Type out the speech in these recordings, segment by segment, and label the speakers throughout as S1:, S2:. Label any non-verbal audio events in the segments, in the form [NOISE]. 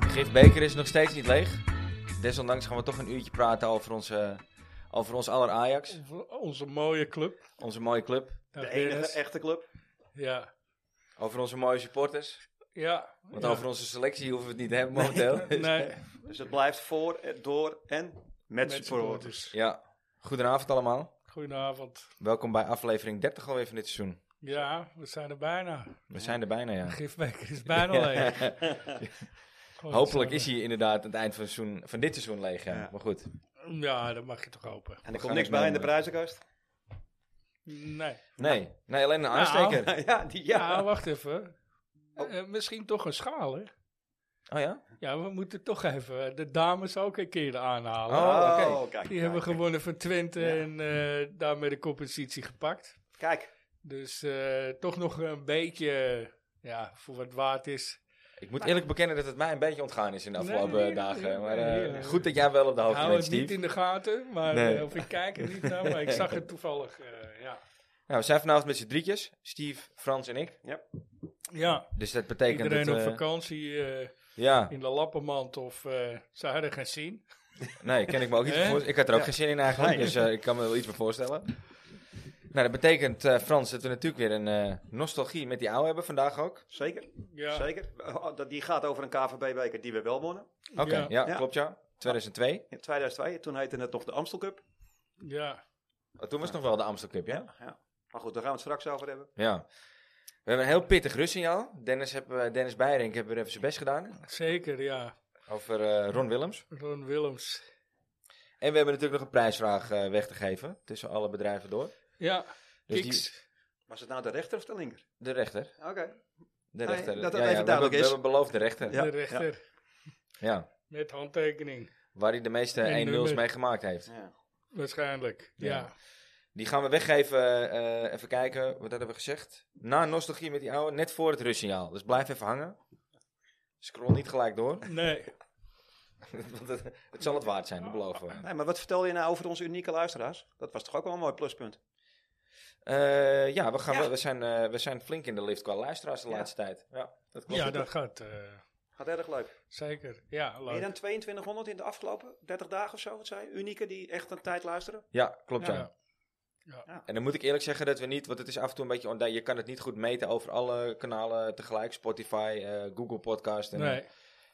S1: Gifbeker is nog steeds niet leeg. Desondanks gaan we toch een uurtje praten over, onze, over ons aller Ajax.
S2: Onze, onze mooie club.
S1: Onze mooie club.
S2: Ja,
S3: De enige
S2: Dennis.
S3: echte club.
S2: Ja.
S1: Over onze mooie supporters.
S2: Ja.
S1: Want
S2: ja.
S1: over onze selectie hoeven we het niet te hebben momenteel.
S2: [LAUGHS] Nee.
S3: Dus het blijft voor, eh, door en met,
S2: Met
S3: supporters.
S2: supporters.
S1: Ja, goedenavond allemaal.
S2: Goedenavond.
S1: Welkom bij aflevering 30 alweer van dit seizoen.
S2: Ja, we zijn er bijna.
S1: We zijn er bijna, ja.
S2: Oh, Gifbeker [LAUGHS] is bijna leeg. Gewoon
S1: Hopelijk is
S2: hetzelfde.
S1: hij inderdaad aan het eind van, het seizoen, van dit seizoen leeg, ja.
S3: Ja.
S1: Maar goed.
S2: Ja, dat mag je toch hopen.
S3: En er
S1: gaan
S3: komt niks
S1: niks
S3: bij in de
S1: noemen.
S3: prijzenkast. [LAUGHS]
S2: Nee.
S1: Nee, nee alleen een
S2: Nou.
S1: aansteker.
S3: ja, die,
S2: Ja,
S3: ja.
S2: wacht even. Eh, misschien toch een schaal, hè?
S1: Oh ja?
S2: Ja, we moeten toch even eh, de dames ook een keer aanhalen.
S1: Oh, oké.
S3: kijk, kijk,
S2: Die hebben
S3: kijk.
S2: gewonnen van Twente
S3: Ja.
S2: en eh, daarmee de competitie gepakt.
S3: Kijk,
S2: Dus eh, toch nog een beetje, ja, voor wat het waard is.
S1: Ik moet eerlijk bekennen dat het mij een beetje ontgaan is in de afgelopen
S2: Nou. Nee, nee, nee,
S1: dagen. Maar eh,
S2: nee.
S1: goed dat jij wel op de hoogte
S2: Hou
S1: bent,
S2: het niet
S1: Steve.
S2: in de gaten, maar,
S1: Nee.
S2: eh, of ik kijk er niet naar, maar ik zag het toevallig, eh, ja.
S1: Nou, we zijn vanavond met z'n drietjes. Steve, Frans en ik.
S2: Ja,
S1: Dus dat betekent
S2: iedereen
S1: dat...
S2: op
S1: eh,
S2: vakantie eh,
S1: ja,
S2: in de lappenmand of eh ze hadden geen zin.
S1: nee, kan ik me ook iets
S2: Hè?
S1: voor Ik had er ook
S3: Ja.
S1: geen zin in eigenlijk,
S3: Nee.
S1: dus eh, ik kan me wel iets voor voorstellen. Nou, dat betekent, eh, Frans, dat we natuurlijk weer een eh, nostalgie met die oude hebben vandaag ook.
S3: zeker,
S2: Ja,
S3: zeker. Oh, dat- Die gaat over een KVB-beker die we wel wonnen.
S1: Oké,
S2: Ja.
S1: ja.
S3: Ja.
S1: klopt ja. 2002.
S3: In 2002, toen heette het nog de Amstel Cup.
S2: ja.
S1: Oh, toen was het nog wel de Amstel Cup, ja?
S3: Ja. Maar goed, daar gaan we het straks over hebben.
S1: Ja. We hebben een heel pittig rustsignaal. Dennis, heb, eh, Dennis Beirink heeft weer even zijn best gedaan
S2: zeker, ja.
S1: over eh, Ron Willems.
S2: Ron Willems.
S1: En we hebben natuurlijk nog een prijsvraag eh, weg te geven tussen alle bedrijven door.
S2: Ja,
S1: Dus
S2: Kiks.
S1: die-
S3: Was het nou de rechter of de linker?
S1: de rechter.
S3: Oké.
S1: De
S3: Nee,
S1: rechter.
S3: dat dat even
S1: we
S3: duidelijk
S1: hebben,
S3: is.
S1: We hebben beloofd de rechter. Ja.
S3: Ja,
S2: de rechter, met handtekening,
S1: Waar hij de meeste
S2: En
S1: 1-0's
S2: nummer.
S1: mee gemaakt heeft.
S3: Ja.
S2: waarschijnlijk.
S1: Ja.
S2: Ja,
S1: Die gaan we weggeven. eh, even kijken, wat dat hebben we gezegd. Na nostalgie met die oude, net voor het rustsignaal. Dus blijf even hangen. Scroll niet gelijk door. [LAUGHS]
S2: nee.
S1: Want het, het zal het waard zijn, dat beloven we.
S3: Nee, maar wat vertel je nou over onze unieke luisteraars? Dat was toch ook wel een mooi pluspunt.
S1: Eh, ja, we, gaan,
S3: Ja.
S1: wel- We, zijn, eh, we zijn flink in de lift qua luisteraars de
S3: Ja.
S1: laatste tijd. Ja, dat klopt.
S2: Ja, dat gaat, eh,
S3: Gaat erg leuk.
S2: zeker. Ja,
S3: Meer
S2: leuk.
S3: dan 2200 in de afgelopen 30 dagen of zo, wat zei je? Unieke die echt een tijd luisteren?
S1: Ja, klopt ja.
S2: Ja.
S1: En dan moet ik eerlijk zeggen dat we niet, want het is af en toe een beetje ondij. Je kan het niet goed meten over alle kanalen tegelijk. Spotify, eh, Google Podcast. En,
S2: Nee.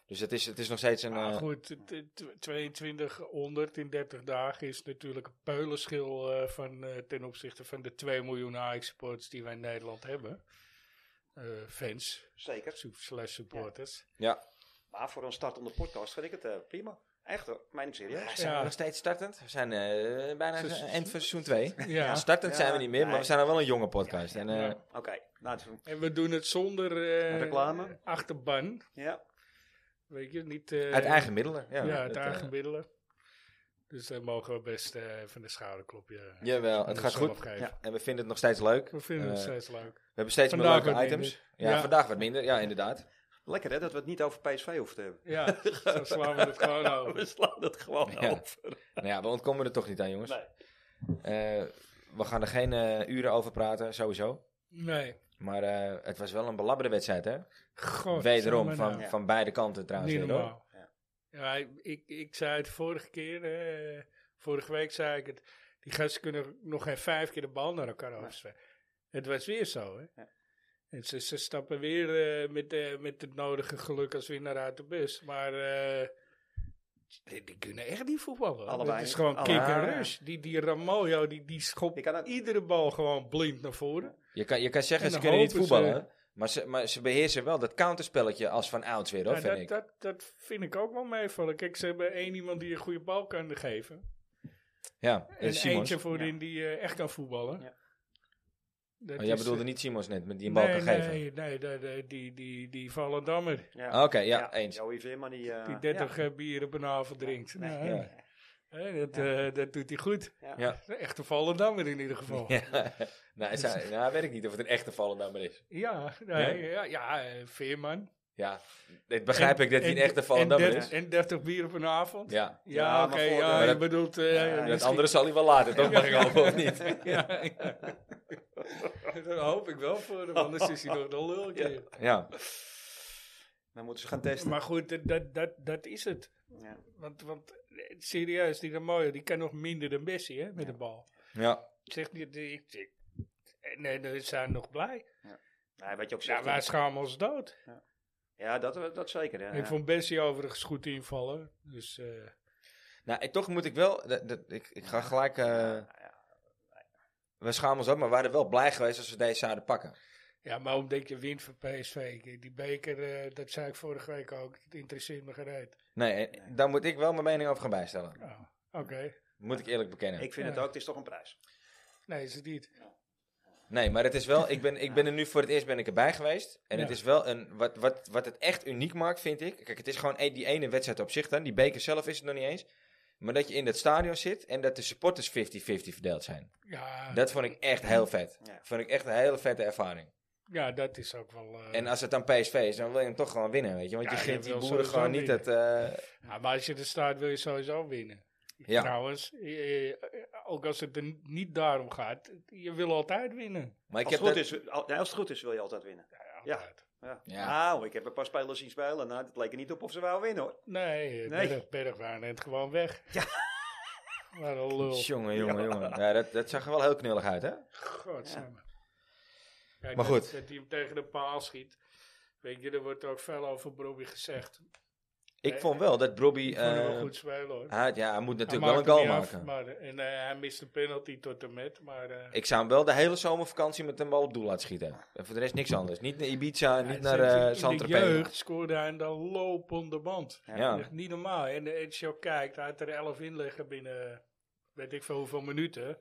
S1: Dus het is, het is nog steeds een...
S2: Maar
S1: eh,
S2: goed, t- t- t- 2200 in 30 dagen is natuurlijk een peulenschil eh, van, eh, ten opzichte van de 2 miljoen AX-supporters die wij in Nederland hebben. Eh, fans,
S3: Zeker.
S2: su- slash supporters.
S1: ja.
S3: Maar voor een startende podcast vind ik het eh, prima. Echt hoor, meen ik serieus.
S1: Zijn
S2: Ja.
S1: we nog steeds startend? We zijn eh, bijna
S2: Seizoen-
S1: aan eind van seizoen 2.
S2: Ja.
S1: startend
S3: Ja.
S1: zijn we niet meer, maar
S3: Nee.
S1: we zijn al wel een jonge podcast. En, eh,
S2: Ja.
S3: Oké, nou, het is-
S2: En we doen het zonder eh,
S3: Reclame?
S2: achterban.
S3: ja.
S2: Weet je, niet... eh,
S1: uit eigen middelen. Ja,
S2: Ja, uit
S1: het, eh,
S2: eigen middelen. Dus daar mogen we best eh, even de schouderklopje
S1: Jawel, het
S2: aan
S1: gaat
S2: onszelf
S1: goed.
S2: geven.
S3: Ja.
S1: En we vinden het nog steeds leuk.
S2: We vinden het
S1: Eh,
S2: steeds leuk.
S1: We hebben steeds
S2: Vandaag
S1: meer leuke
S2: wat
S1: items. Ja,
S2: minder. Ja.
S1: vandaag wat minder. Ja, inderdaad.
S3: Lekker hè, dat we het niet over PSV hoeven te hebben.
S2: Ja, zo slaan we het gewoon
S3: We
S4: [LAUGHS]
S1: [LAUGHS]
S2: over.
S3: slaan het gewoon
S1: Oh. Ja.
S3: over.
S1: Nou ja, we ontkomen er toch niet aan, jongens.
S3: Nee.
S1: Eh, we gaan er geen eh, uren over praten, sowieso.
S2: Nee.
S1: Maar eh, het was wel een belabberde wedstrijd, hè?
S2: God,
S1: Wederom,
S2: samen
S1: van,
S2: nou.
S3: Ja.
S1: van beide kanten trouwens.
S2: Niet
S1: weer, hoor.
S2: normaal.
S3: Ja.
S2: Ja, ik- ik, ik zei het vorige keer, eh, vorige week zei ik het. Die gasten kunnen nog geen vijf keer de bal naar elkaar afslaan. Het was weer zo, hè?
S3: Ja.
S2: En ze, ze stappen weer eh, met, eh, met het nodige geluk als winnaar uit de bus. Maar eh, die, die kunnen echt niet voetballen.
S3: Allebei
S2: Het is
S3: niet.
S2: gewoon kick
S1: Allebei,
S2: en
S1: ja.
S2: rush. Die, die Ramoyo, die, die schopt
S3: Je kan ook-
S2: iedere bal gewoon blind naar voren.
S1: Je, kan, je kan zeggen,
S2: En
S1: ze
S2: dan
S1: kunnen niet
S2: hopen ze-
S1: voetballen. Maar, ze, maar ze beheersen wel dat counterspelletje als van ouds weer, hoor,
S2: Ja,
S1: vind
S2: dat,
S1: ik.
S2: Nou, dat, dat vind ik ook wel meevallen. Kijk, ze hebben één iemand die een goede bal kan geven.
S1: ja, eh,
S2: En
S1: Simons.
S2: eentje voorin
S3: Ja.
S2: die eh, echt kan voetballen.
S3: Ja.
S2: Dat
S1: Oh, jij
S2: is,
S1: bedoelde
S2: eh,
S1: niet Simons net, met die een bal
S2: nee,
S1: kan geven. Ah,
S2: Nee, nee, nee, nee, die, die, die Vallendammer.
S3: Ja.
S1: Oké, ja, eens.
S3: Joey Veerman die... eh,
S2: Die 30 eh, bieren per avond drinkt.
S3: Nee,
S2: Nou,
S3: ja.
S2: hè. Hè, dat, eh, dat doet hij goed.
S3: Ja.
S1: Ja.
S2: Een Echte Vallendammer in ieder geval. Ja,
S1: [LAUGHS] Ja. nou, het zijn- nou, weet ik niet of het een echte vallendamer is.
S2: nee,
S1: Nee?
S2: ja, ja, eh, Veerman.
S1: Ja, dit begrijp
S2: En-
S1: ik dat hij een
S2: en-
S1: echte
S2: en
S1: vallendamer
S2: dert-
S1: is.
S2: En 30 bieren per avond. Ja,
S1: Ja,
S3: Ja,
S2: oké.
S3: maar voor-
S2: ja,
S1: maar
S2: je
S1: dat-
S2: bedoelt... eh,
S3: Ja, dat
S1: dat
S2: misschien-
S1: andere zal hij wel laten, toch? Mag ik hopen of niet?
S2: [LAUGHS] Ja, ja. Dat hoop ik wel voor hem, anders is hij nog een lulkje.
S1: Ja.
S4: Dan moeten ze gaan testen.
S2: Maar goed, eh, dat, dat, dat is het.
S4: Ja.
S2: Want, want eh, serieus, die Ramoyo, die kan nog minder dan Messi hè, met
S4: Ja.
S2: de bal.
S1: Ja.
S2: Zeg niet, die, die- nee, we zijn nog blij.
S4: Nee, wat je ook
S2: Ja,
S4: zegt.
S2: wij
S4: hè.
S2: schamen ons dood.
S4: ja dat, dat zeker. hè.
S2: Ik vond Messi overigens goed invallen. Dus eh,
S1: Nou, en toch moet ik wel... dat- dat- ik, ik ga gelijk... eh,
S4: Ja, ja.
S1: we schamen ons op, maar we waren wel blij geweest als we deze zouden pakken.
S2: ja, maar omdat je wint van PSV. Kijk, Die beker, eh, dat zei ik vorige week ook, het interesseert me gereed.
S1: Nee, eh, daar moet ik wel mijn mening over gaan bijstellen.
S2: Nou, Oké,
S1: Moet ik eerlijk bekennen.
S4: Ik vind het
S2: Ja.
S4: ook, het is toch een prijs.
S2: nee is het niet.
S1: Nee, maar het is wel, ik ben, ik ben er nu voor het eerst ben ik erbij geweest. En het
S2: Ja.
S1: is wel een, wat, wat, wat het echt uniek maakt, vind ik. Kijk, het is gewoon e- die ene wedstrijd op zich dan. Die beker zelf is het nog niet eens. Maar dat je in dat stadion zit en dat de supporters 50-50 verdeeld zijn.
S2: Ja,
S1: Dat vond ik echt heel vet.
S4: Ja.
S1: Vond ik echt een hele vette ervaring.
S2: ja, dat is ook wel... eh,
S1: En als het dan PSV is, dan wil je hem toch gewoon winnen, weet je. Want
S2: Ja,
S1: je
S2: je
S1: geeft die
S2: wil
S1: boeren
S2: sowieso
S1: gewoon niet
S2: winnen.
S1: dat... eh,
S2: Ja, maar als je er staat, wil je sowieso winnen.
S1: Ja.
S2: Trouwens, eh, eh, ook als het er niet daarom gaat, je wil altijd winnen.
S1: maar ik
S4: Als het,
S1: heb
S4: goed
S1: dat...
S4: is, al- nee, als het goed is wil je altijd winnen.
S2: Ja,
S4: Ja.
S2: altijd.
S4: Ja.
S1: Ja.
S4: Nou, ik heb een paar spelers zien spelen. Nou, het leek er niet op of ze wel winnen hoor.
S2: Nee, eh,
S4: Nee.
S2: Berg, Bergwijn rent gewoon weg. Ja. [LAUGHS] Wat een lul.
S1: Jongen, jongen, jongen. Ja, dat, dat zag er wel heel knullig uit, hè?
S2: Godsamme. Kijk,
S1: Maar
S2: dat-
S1: goed.
S2: Dat, hij hem tegen de paal schiet. Weet je, er wordt ook veel over Bobby gezegd.
S1: Ik
S2: Nee,
S1: vond wel dat Robbie...
S2: Ik vond hem wel
S1: eh,
S2: goed spelen hoor.
S1: hij, ja, hij moet
S2: Hij
S1: natuurlijk wel
S2: Nou, maakt
S1: een goal
S2: hem niet af,
S1: maken.
S2: maar, en eh, hij mist een penalty tot en met, maar... eh,
S1: Ik zou hem wel de hele zomervakantie met een bal op doel laten schieten. En voor de rest niks anders. Niet naar Ibiza,
S2: Ja,
S1: niet
S2: het
S1: naar
S2: is-
S1: eh
S2: In de
S1: Saint-Tropez.
S2: jeugd scoorde hij dan lopende band.
S4: Ah.
S1: Ja.
S2: Echt niet normaal. En, eh, als je ook kijkt, hij had er 11 in liggen binnen weet ik veel hoeveel minuten.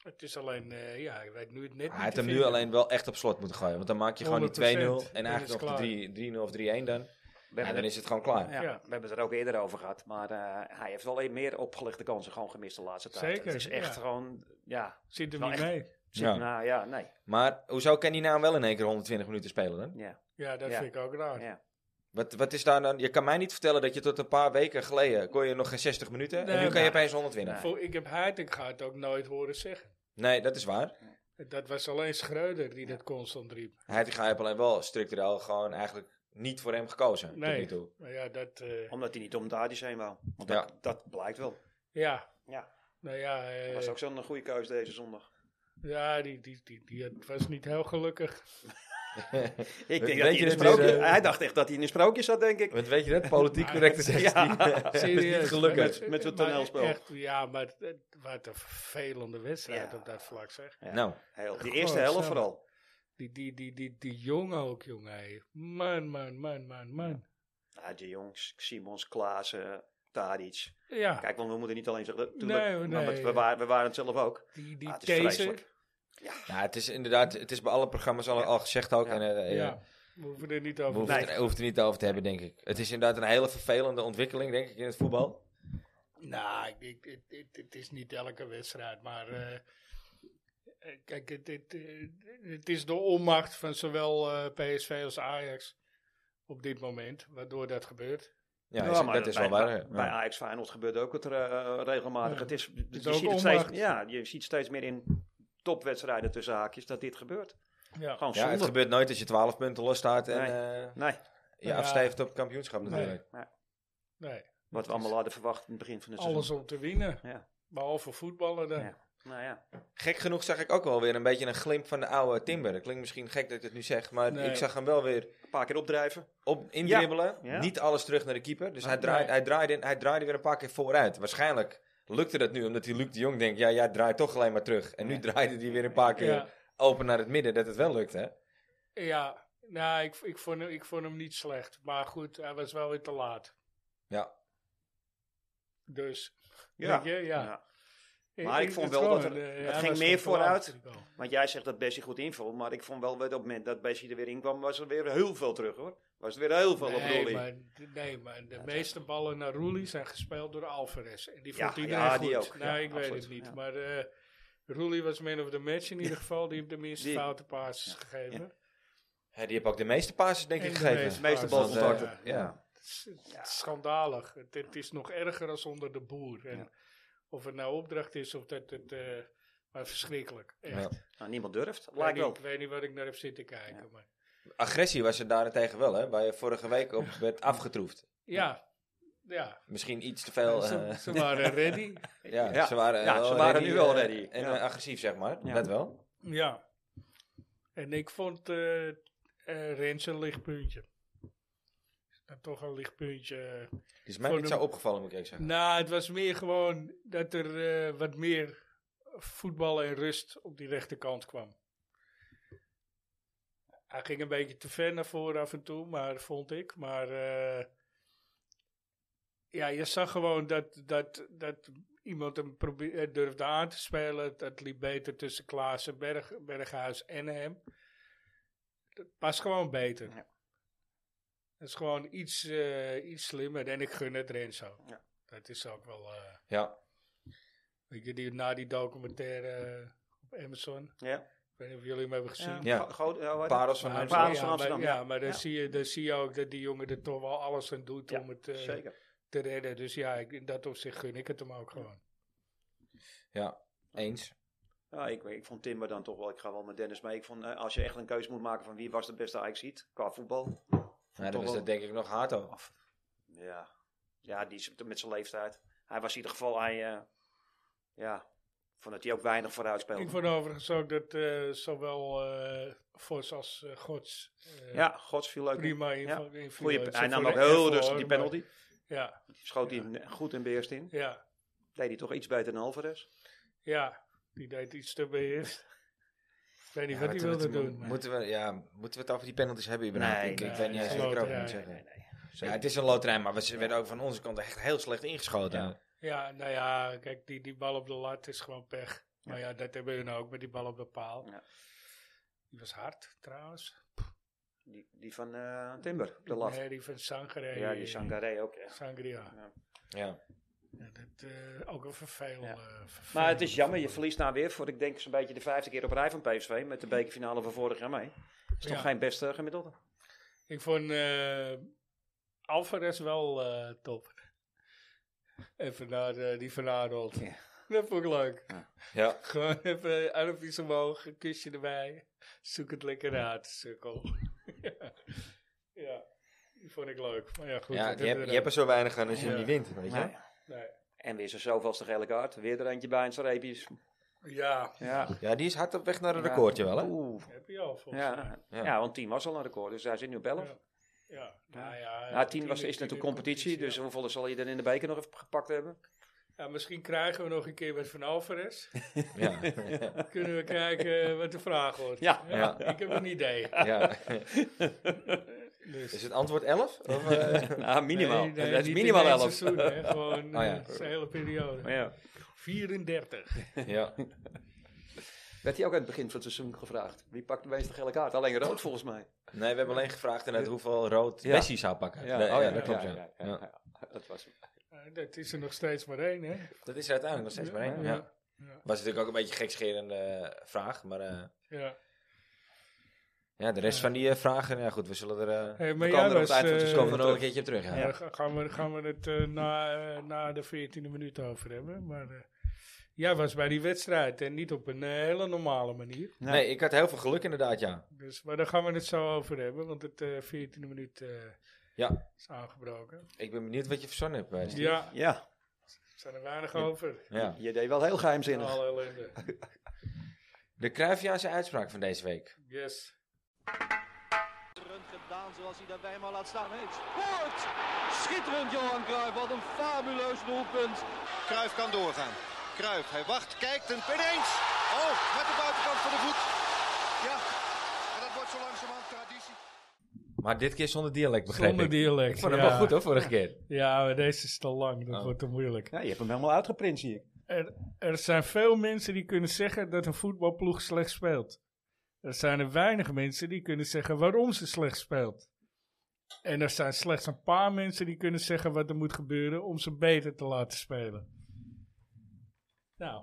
S2: Het is alleen, eh, ja, ik weet nu het net niet
S1: Hij had
S2: te
S1: hem nu
S2: vinden.
S1: alleen wel echt op slot moeten gooien. Want dan maak je gewoon
S2: 100%.
S1: die 2-0 en
S2: Dan is
S1: eigenlijk nog
S2: het
S1: de 3 3-0 of 3-1 dan.
S4: We
S1: Ja,
S4: hebben
S1: dan is het gewoon klaar.
S4: Ja,
S2: Ja.
S4: we hebben het er ook eerder over gehad. Maar eh, hij heeft wel een meer opgelegde kansen gewoon gemist de laatste tijd.
S2: Zeker,
S4: Het is echt
S2: ja.
S4: gewoon, ja.
S2: Zit hem
S4: Wel
S2: niet
S4: echt.
S2: mee.
S4: Zit,
S1: Ja.
S4: Nou ja, nee.
S1: Maar hoezo kan die naam wel in één keer 120 minuten spelen dan?
S4: Ja.
S2: Ja, dat
S4: Ja.
S2: vind ik ook raar.
S4: Ja.
S1: Wat, wat is daar dan? Je kan mij niet vertellen dat je tot een paar weken geleden kon je nog geen 60 minuten.
S2: Nee,
S1: en nu kan je
S2: maar-
S1: opeens 120.
S2: Voor, ik heb Heiting het ook nooit horen zeggen.
S1: Nee, dat is waar.
S2: Dat was alleen Schreuder die dat constant riep.
S1: Hij heeft alleen wel structureel gewoon eigenlijk niet voor hem gekozen. Tot nu
S2: Nee.
S1: toe.
S2: Maar ja, dat... eh,
S4: Omdat hij niet om Dadi zijn wou. Want
S1: Ja.
S4: dat, dat blijkt wel.
S2: ja.
S4: Ja.
S2: Nou ja, eh,
S4: Dat was ook zo'n goede keus deze zondag.
S2: ja die, die, die, die, het was niet heel gelukkig.
S4: Ik
S1: Weet
S4: denk dat
S1: je
S4: hij, in een
S1: dat weer,
S4: sprookje,
S1: eh,
S4: hij dacht echt dat hij in een sprookje zat, denk ik.
S1: Want weet je dat? Politiek correct is echt
S4: Ja.
S1: niet. [LAUGHS] dat is niet gelukkig.
S4: Met- met zo'n
S2: Maar
S4: toneelspel.
S2: echt, ja, maar het- wat een vervelende wedstrijd
S4: Ja.
S2: op dat vlak, zeg.
S4: Ja.
S1: Nou,
S4: Heel, die
S2: Goh,
S4: eerste helft
S2: snap.
S4: vooral.
S2: Die, die, die, die, die jongen ook, jongen. hé. Man, man, man, man, man.
S4: Ja, Ah, de jongs, Simons, Klaassen, Tadic.
S2: Ja,
S4: Kijk, want we moeten niet alleen zeggen... Tuurlijk,
S2: Nee,
S4: maar
S2: nee.
S4: we, waren, we waren het zelf ook.
S2: die, die
S4: Ah, het is
S2: taser.
S4: vreselijk.
S1: Ja, nou, het is inderdaad, het is bij alle programma's al, al gezegd ook.
S4: Ja.
S1: En, eh, eh,
S2: Ja, we hoeven er niet
S1: We
S2: over
S1: hoeven
S2: te
S1: het er- hoeven het er niet over te hebben, denk ik. Het is inderdaad een hele vervelende ontwikkeling, denk ik, in het voetbal.
S2: Nou, ik, ik, het- het- het is niet elke wedstrijd, maar eh, eh, kijk, het, het, eh, het is de onmacht van zowel eh, PSV als Ajax op dit moment, waardoor dat gebeurt.
S1: Ja, is- dat is wel
S4: bij,
S1: waar.
S4: bij-
S1: ja.
S4: Bij Ajax Feyenoord gebeurt ook het eh, regelmatig.
S2: Ja.
S4: Het is, je,
S2: ook
S4: ziet het steeds,
S2: onmacht.
S4: ja, je ziet steeds meer in topwedstrijden tussen haakjes dat dit gebeurt.
S2: Ja.
S4: Gewoon
S1: ja,
S4: zonde.
S1: het gebeurt nooit als je 12 punten losstaat en
S4: Nee.
S1: eh,
S4: Nee,
S1: je
S2: Ja.
S1: afstijft op het kampioenschap
S2: Nee.
S1: natuurlijk.
S2: Nee,
S4: wat we allemaal hadden verwacht in het begin van het
S2: alles
S4: seizoen.
S2: om te winnen,
S4: Ja.
S2: behalve voetballen dan.
S4: Ja. Nou ja,
S1: Gek genoeg zag ik ook wel weer een beetje een glimp van de oude Timber. Dat klinkt misschien gek dat ik het nu zeg, maar
S2: Nee.
S1: ik zag hem wel weer
S4: een paar keer opdrijven.
S1: op indribbelen.
S4: Ja.
S1: Niet alles terug naar de keeper. Dus hij,
S2: Nee.
S1: draaide, hij, draaide, hij draaide weer een paar keer vooruit. Waarschijnlijk lukte dat nu omdat hij Luc de Jong denkt: ja, jij draait toch alleen maar terug. En nu draaide hij weer een paar keer
S2: Ja,
S1: open naar het midden, dat het wel lukt, hè?
S2: ja. Nou, ik, ik, vond, hem- ik vond hem niet slecht, maar goed, hij was wel weer te laat.
S1: Ja.
S2: Dus,
S4: Ja.
S2: weet je, ja.
S4: Ja. Maar ik vond
S2: het is
S4: wel dat
S2: gewoon,
S4: er-
S2: eh,
S4: het
S2: hij
S4: ging
S2: was
S4: meer
S2: gewoon te laat
S4: vooruit.
S2: natuurlijk al.
S4: Want jij zegt dat Bessie goed invult, maar ik vond wel weer op het moment dat Bessie er weer in kwam, was er weer heel veel terug hoor. Was er weer heel veel op
S2: Nee,
S4: Rolly.
S2: maar, nee, maar de meeste ballen naar Roelie zijn gespeeld door Alvarez. En die
S4: Ja,
S2: vond iedereen
S4: ja,
S2: goed.
S4: die ook.
S2: Nou,
S4: Ja,
S2: ik weet
S4: absoluut.
S2: het niet.
S4: Ja.
S2: Maar eh Roelie was man of the match in ieder geval. Die heeft de minste
S4: Die-
S2: foute passes gegeven.
S1: Ja, die heb ook de meeste passes, denk
S2: En
S1: ik,
S2: de
S1: gegeven.
S2: meeste
S4: De meeste
S2: passes,
S1: balcontacten,
S2: eh,
S1: ja.
S2: het is- het is Schandalig. Het, het is nog erger als onder de boer. En
S4: Ja.
S2: Of het nou opdracht is of dat het... eh, maar verschrikkelijk. Echt.
S1: Ja.
S4: Nou, niemand durft,
S2: Ik, weet
S4: lijkt
S2: niet,
S4: wel.
S2: ik weet niet wat ik naar heb zitten kijken. Maar.
S1: agressie was er daarentegen wel, hè? Waar je vorige week op werd afgetroefd.
S2: Ja, ja.
S1: Misschien iets te veel.
S2: Ze,
S1: eh,
S2: ze waren ready.
S1: ja,
S4: Ja.
S1: ze waren,
S4: Ja,
S1: wel
S4: ze waren nu wel
S1: eh,
S4: ready.
S1: En
S4: Ja.
S1: eh, agressief, zeg maar.
S4: Ja.
S1: Dat wel.
S2: Ja. En ik vond eh eh, Rens een lichtpuntje. En toch een eh, lichtpuntje.
S1: Is mij
S2: Voor
S1: niet
S2: de-
S1: zo opgevallen, moet ik eerlijk zeggen.
S2: Nou, het was meer gewoon dat er eh, wat meer voetbal en rust op die rechterkant kwam. Hij ging een beetje te ver naar voren af en toe, maar vond ik. Maar eh, ja, je zag gewoon dat, dat, dat iemand hem probe- eh, durfde aan te spelen. Dat liep beter tussen Klaas en Berg, Berghuis en hem. Dat past gewoon beter.
S4: Ja.
S2: Dat is gewoon iets, eh, iets slimmer. En ik gun het Renzo.
S4: Ja.
S2: Dat is ook wel... eh,
S1: Ja.
S2: Weet je, die, na die documentaire eh, op Amazon.
S4: Ja.
S2: Ik weet niet of jullie hem hebben gezien.
S4: Ja.
S2: Maar-
S1: Ja.
S4: Go- Go- oh, wat-
S1: Parels van
S2: maar-
S1: Amsterdam.
S4: Parels van
S2: ja,
S4: Amsterdam,
S2: Maar, ja,
S4: ja.
S2: maar dan,
S4: Ja.
S2: Zie je, dan zie je ook dat die jongen er toch wel alles aan doet
S4: Ja,
S2: om het eh,
S4: Zeker.
S2: te redden. Dus ja, ik, in dat opzicht gun ik het hem ook gewoon.
S1: Ja, eens.
S4: Ja, ik, ik vond Timber dan toch wel. Ik ga wel met Dennis mee. Ik vond, eh, als je echt een keuze moet maken van wie was de beste Ajax-ziet qua voetbal.
S1: Nou,
S4: toch
S1: dan is
S4: wel-
S1: dat denk ik nog Hato.
S4: Ja, ja die is met zijn leeftijd. Hij was in ieder geval. Hij, eh, ja, vond dat hij ook weinig vooruit speelde.
S2: Ik vond overigens ook dat eh, zowel eh Vos als eh, Gods eh,
S4: ja, Gods viel leuk. in.
S2: prima inv-
S4: Ja.
S2: invullen.
S4: Goeie,
S2: Ze
S4: hij nam ook
S2: voelen
S4: heel
S2: ervoor,
S4: rustig die
S2: maar-
S4: penalty.
S2: Ja,
S4: Schoot
S2: Ja.
S4: hij hem eh, goed in beheerst in.
S2: ja,
S4: Deed hij toch iets beter dan Alvarez.
S2: ja. Die deed iets te beheerst. Ik weet niet
S1: Ja,
S2: wat hij
S1: wat-
S2: wilde
S1: wat-
S2: doen. maar-
S1: Moeten we, ja, moeten we het over die penalties hebben? überhaupt?
S4: Nee,
S1: ik, ik
S2: nee,
S1: weet niet
S2: het
S1: eens
S2: is
S1: wat ik erover
S2: loterij.
S1: moet zeggen. Ja, het is een loterij, maar we ze werden ook van onze kant echt heel slecht ingeschoten.
S4: Ja.
S2: Ja, nou ja, kijk, die, die bal op de lat is gewoon pech. Maar ja, dat hebben hun ook met die bal op de paal.
S4: Ja.
S2: Die was hard, trouwens.
S4: Die, die van eh, Timber, de lat.
S2: Nee, die van Sangre.
S4: ja, die Sangaré ook. echt.
S2: Sangria.
S1: Ja.
S2: Ja, dat, eh, ook een vervelend.
S4: Ja.
S2: eh, vervelend
S4: Maar het is jammer, je
S2: voetbal.
S4: verliest nou weer voor, ik denk zo'n beetje de vijfde keer op rij van PSV. Met de bekerfinale van vorig jaar mee. Dat is toch
S2: Ja.
S4: geen beste gemiddelde?
S2: Ik vond eh Alvarez wel eh, top. Even naar eh, die van Arnold.
S4: Ja.
S2: Dat vond ik leuk.
S1: Ja.
S2: Gewoon even armpjes omhoog, een kusje erbij. Zoek het lekker uit, sukkel. [LAUGHS] ja. ja, die vond ik leuk. Maar ja, goed.
S1: ja,
S2: dat
S1: je, hebt,
S2: hebben
S1: je
S2: we
S1: hebt er
S2: dan.
S1: zo weinig aan als je
S2: Ja.
S1: niet wint, weet je.
S4: Nee.
S2: Nee.
S4: En weer zijn zoveelste gele kaart. Weer er eentje bij en zijn reepjes.
S2: Ja,
S4: Ja.
S1: Ja, die is hard op weg naar een
S4: Ja.
S1: recordje wel, hè?
S4: Oeh.
S2: heb je al volgens mij.
S4: Ja.
S1: Ja.
S4: Ja. want 10 was al een record, dus hij zit nu op 11.
S2: Ja. Ja, nou ja.
S4: Nou, 10 was,
S2: tien-
S4: is
S2: tien
S4: natuurlijk
S2: in
S4: competitie, dus
S2: ja.
S4: hoeveel zal je dan in de beker nog even gepakt hebben? [LAUGHS]
S2: Ja, misschien krijgen we nog een keer wat van Alvarez.
S1: Ja.
S2: Kunnen we kijken eh, wat de vraag wordt.
S4: Ja.
S1: Ja.
S2: Ik heb een idee.
S1: ja.
S2: Dus.
S1: Is het antwoord 11? Of,
S4: [LAUGHS]
S1: eh,
S4: nou, minimaal.
S2: Nee, nee,
S4: dat is
S2: niet dus, eh.
S4: minimaal
S2: in één
S4: 11.
S2: Seizoen, hè. Gewoon
S1: Oh ja.
S2: eh, zijn hele periode.
S4: Maar Oh ja.
S2: 34.
S1: ja.
S4: Werd hij ook aan het begin van het seizoen gevraagd? Wie pakt de meeste gele kaart? Alleen rood volgens mij.
S1: Nee, we hebben alleen gevraagd inderdaad hoeveel rood
S4: Ja.
S1: Messi zou pakken. Nee, Ja,
S4: oh
S1: dat klopt, ja.
S4: ja,
S1: Ja.
S4: ja, ja. Dat was hem.
S2: Eh, dat is er nog steeds maar één, hè?
S1: Dat is er uiteindelijk nog steeds maar één. Ja.
S2: Ja.
S1: Was natuurlijk ook een beetje een gekscherende eh, vraag, maar eh,
S2: ja.
S1: ja, de rest van die eh, vragen, ja goed, we zullen er... eh
S2: Hey, maar
S4: We
S2: jij
S4: komen er op
S2: was...
S4: het eind van het
S2: eh,
S1: dus komen we er nog een keertje op terug, ja.
S2: ja, ga- gaan, we, gaan we het eh, na, eh, na de 14e minuut over hebben. Maar eh, jij was bij die wedstrijd en niet op een eh, hele normale manier.
S1: Nee. Nee, ik had heel veel geluk inderdaad, ja.
S2: Dus, maar daar gaan we het zo over hebben, want het eh 14e minuut eh,
S1: Ja.
S2: is aangebroken.
S1: Ik ben benieuwd wat je verzonnen hebt, eh, Steve.
S2: Ja,
S4: Ja,
S2: er zijn er weinig over.
S1: Ja.
S4: je deed wel heel geheimzinnig.
S2: Alle ellende.
S1: [LAUGHS] De Cruijffiaanse uitspraak van deze week.
S2: Yes.
S5: schitterend gedaan zoals hij daarbij maar laat staan. Hij scoort! Schitterend Johan Cruijff, wat een fabuleus doelpunt.
S6: Kruif kan doorgaan. Kruif, hij wacht, kijkt en ineens. Oh, met de buitenkant van de voet. Ja, en dat wordt zo langzamerhand traditie.
S1: Maar dit keer zonder dialect, begreep
S2: Zonder
S1: ik.
S2: dialect.
S1: Ik vond hem
S2: ja.
S1: wel goed, hoor, vorige keer.
S2: Ja, maar deze is te lang. Dat
S1: Oh.
S2: wordt te moeilijk.
S4: Ja, je hebt hem helemaal uitgeprint, zie ik.
S2: Er, er zijn veel mensen die kunnen zeggen dat een voetbalploeg slecht speelt. Er zijn er weinig mensen die kunnen zeggen waarom ze slecht speelt. En er zijn slechts een paar mensen die kunnen zeggen wat er moet gebeuren om ze beter te laten spelen. Nou,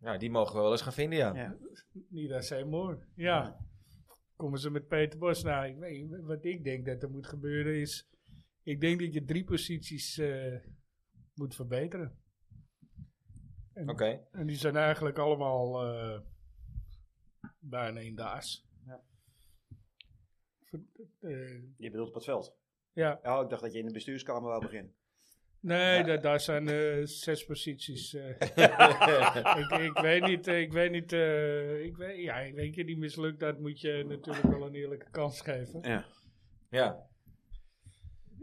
S1: Ja, die mogen we wel eens gaan vinden, ja.
S4: Ja.
S2: niet dat zijn mooi. Ja, komen ze met Peter Bos. Nou, ik weet- wat ik denk dat er moet gebeuren is... Ik denk dat je drie posities eh, moet verbeteren.
S1: Oké.
S2: En die zijn eigenlijk allemaal eh bijna in daas. Eh,
S4: Je bedoelt op het veld.
S2: ja,
S4: Oh, ik dacht dat je in de bestuurskamer wou beginnen.
S2: nee, da- daar zijn eh, zes posities. eh. ik, ik weet niet, eh, ik weet niet, eh, ik weet, ja, ik weet je, die mislukt, dat moet je natuurlijk wel een eerlijke kans geven.
S1: Ja.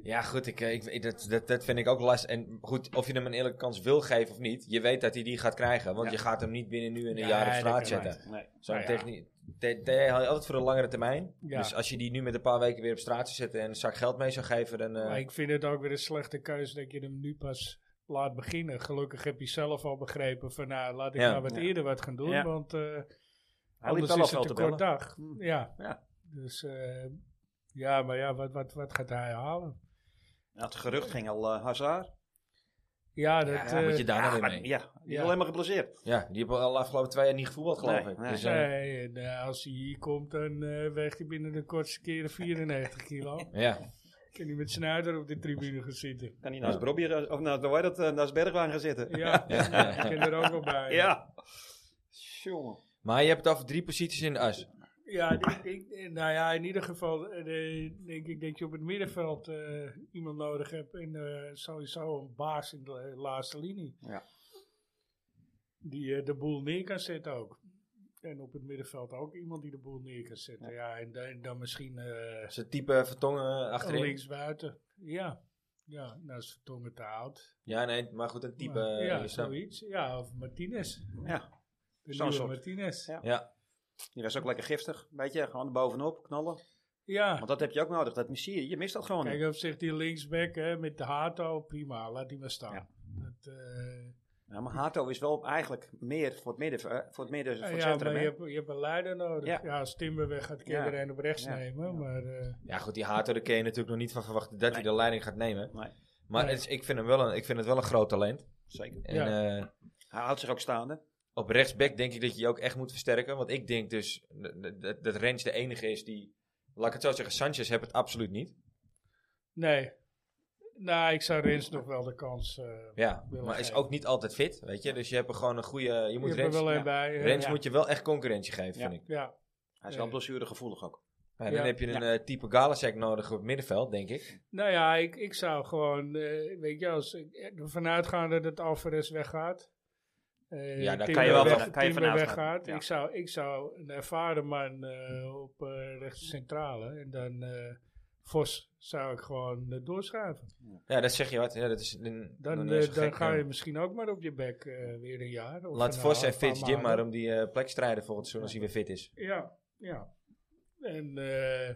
S1: Ja, goed, ik, eh, ik, ik- dat, dat, dat vind ik ook lastig. En goed, of je hem een eerlijke kans wil geven of niet, je weet dat hij die gaat krijgen. Want je gaat hem niet binnen nu en een
S2: Nee,
S1: jaar op
S2: dat
S1: straat
S2: kan
S1: zetten.
S2: niet.
S4: Nee.
S1: Zo'n
S2: Nou ja.
S1: techniek. De, de- haal je altijd voor een langere termijn.
S2: Ja.
S1: Dus als je die nu met een paar weken weer op straat zou zetten en een zak geld mee zou geven, dan. eh,
S2: Maar ik vind het ook weer een slechte keuze dat je hem nu pas laat beginnen. Gelukkig heb je zelf al begrepen van nou, laat ik
S1: Ja.
S2: nou wat
S4: Ja.
S2: eerder wat gaan doen,
S3: Ja.
S2: want eh,
S4: Hij liep
S2: anders
S4: wel
S2: is
S4: af wel
S2: het
S4: te
S2: een kort
S4: bellen.
S2: dag. Ja.
S4: Ja.
S2: Dus eh, ja, maar ja, wat, wat, wat gaat hij halen?
S4: Nou, het gerucht ging al eh Hazard.
S2: Ja,
S1: ja,
S2: dat,
S1: wat
S2: eh,
S1: je daar nou
S4: maar-
S1: weer mee?
S4: ja, die is
S2: Ja.
S4: alleen maar geblesseerd.
S1: Ja, die hebben al de afgelopen twee jaar niet gevoetbald, geloof
S4: Nee,
S1: ik.
S4: nee.
S1: Dus, eh,
S2: nee, en, eh, als hij hier komt, dan eh weegt hij binnen de kortste keren 94 kilo.
S1: ja.
S2: Ik kan niet met Snyder op de tribune gaan
S4: [LAUGHS]
S2: zitten.
S4: Kan hij naast Robbie gaan- of naast, hoe heet dat, eh, naast Bergwijn gaan zitten?
S2: Ja,
S1: Ja.
S2: ik ken er ook wel bij.
S4: [LAUGHS] Ja. Jongen.
S1: Maar je hebt het over drie posities in de as.
S2: Ja, ik denk- ik- nou ja, in ieder geval eh, de- denk ik dat je op het middenveld eh, iemand nodig hebt. En eh, sowieso een baas in de eh, laatste linie.
S4: Ja.
S2: Die eh, de boel neer kan zetten ook. En op het middenveld ook iemand die de boel neer kan zetten. Ja, en, dan- en dan misschien eh
S1: Ze type vertongen achterin.
S2: links buiten. Ja. Ja, nou is Vertongen te oud.
S1: Ja, nee, maar goed, een type.
S2: Maar,
S1: eh,
S2: ja,
S1: je snapt.
S2: zoiets. Ja, of Martinez.
S4: Ja,
S2: De
S4: Zo'n
S2: nieuwe
S4: soort.
S2: Martinez.
S4: Ja.
S2: Ja.
S1: ja.
S4: die was ook lekker giftig. Weet je, gewoon bovenop knallen. Want dat heb je ook nodig. Dat mis je. Je mist dat gewoon. niet.
S2: Kijk, op zich die linksback hè, met de Hato, prima, laat die maar staan.
S4: Ja.
S2: Dat, eh,
S4: Ja, maar Hato is wel eigenlijk meer voor het midden, eh, voor het, midden, voor
S2: ja,
S4: het centrum.
S2: maar
S4: hè?
S2: je hebt, je hebt een leider nodig.
S4: Ja.
S2: Ja, als Timber weg gaat, kun je
S4: Ja.
S2: er een op rechts
S4: Ja.
S2: nemen.
S4: Ja.
S2: Maar eh,
S1: ja, goed, die Hato, daar kun je natuurlijk nog niet van verwachten dat hij de leiding gaat nemen.
S4: Nee.
S1: Maar
S2: Nee.
S1: het is- ik, vind hem wel een, ik vind het wel een groot talent.
S4: Zeker.
S1: En
S2: Ja.
S1: eh,
S4: Hij houdt zich ook staande.
S1: op rechtsback denk ik dat je je ook echt moet versterken. Want ik denk dus dat- dat, dat Rens de enige is die... Laat ik het zo zeggen, Sanchez heb het absoluut niet.
S2: nee. Nou, ik zou Rens nog wel de kans. eh,
S1: Ja,
S2: Wil
S1: maar is
S2: geven.
S1: ook niet altijd fit, weet je. Dus je hebt er gewoon een goede... Je
S2: je
S1: moet
S2: hebt er
S1: Rens,
S2: wel een
S4: ja.
S2: bij. eh,
S1: Rens
S2: ja.
S1: moet je wel echt concurrentie geven,
S4: Ja.
S1: vind ik.
S2: Ja.
S4: Hij is wel
S2: Ja.
S4: blessuregevoelig ook.
S1: En dan
S2: Ja.
S1: heb je een eh, type Galasek nodig op het middenveld, denk ik.
S2: Nou ja, ik, ik zou gewoon, eh, weet je, als ik eh, ervan uitgaande dat Alvarez weggaat. eh,
S1: Ja, daar
S2: Timber
S1: kan je wel
S2: weg-
S4: van- kan je van
S2: Timber
S4: uitgaan,
S2: weggaat.
S4: ja.
S2: Ik, zou, ik zou een ervaren man eh, op eh rechts centrale en dan eh, Vos zou ik gewoon eh, doorschuiven.
S1: Ja, dat zeg je wat. Ja, dat is een,
S2: Dan,
S1: nog niet
S2: eh,
S1: eens
S2: dan,
S1: zo gek,
S2: ga
S1: eh.
S2: je misschien ook maar op je bek eh, weer een jaar. of
S1: Laat
S2: een
S1: Vos
S2: half,
S1: en Fitz
S2: paar
S1: Jim maar
S2: maanden.
S1: om die eh, plek strijden volgend seizoen als hij weer fit is.
S2: Ja, ja. En eh,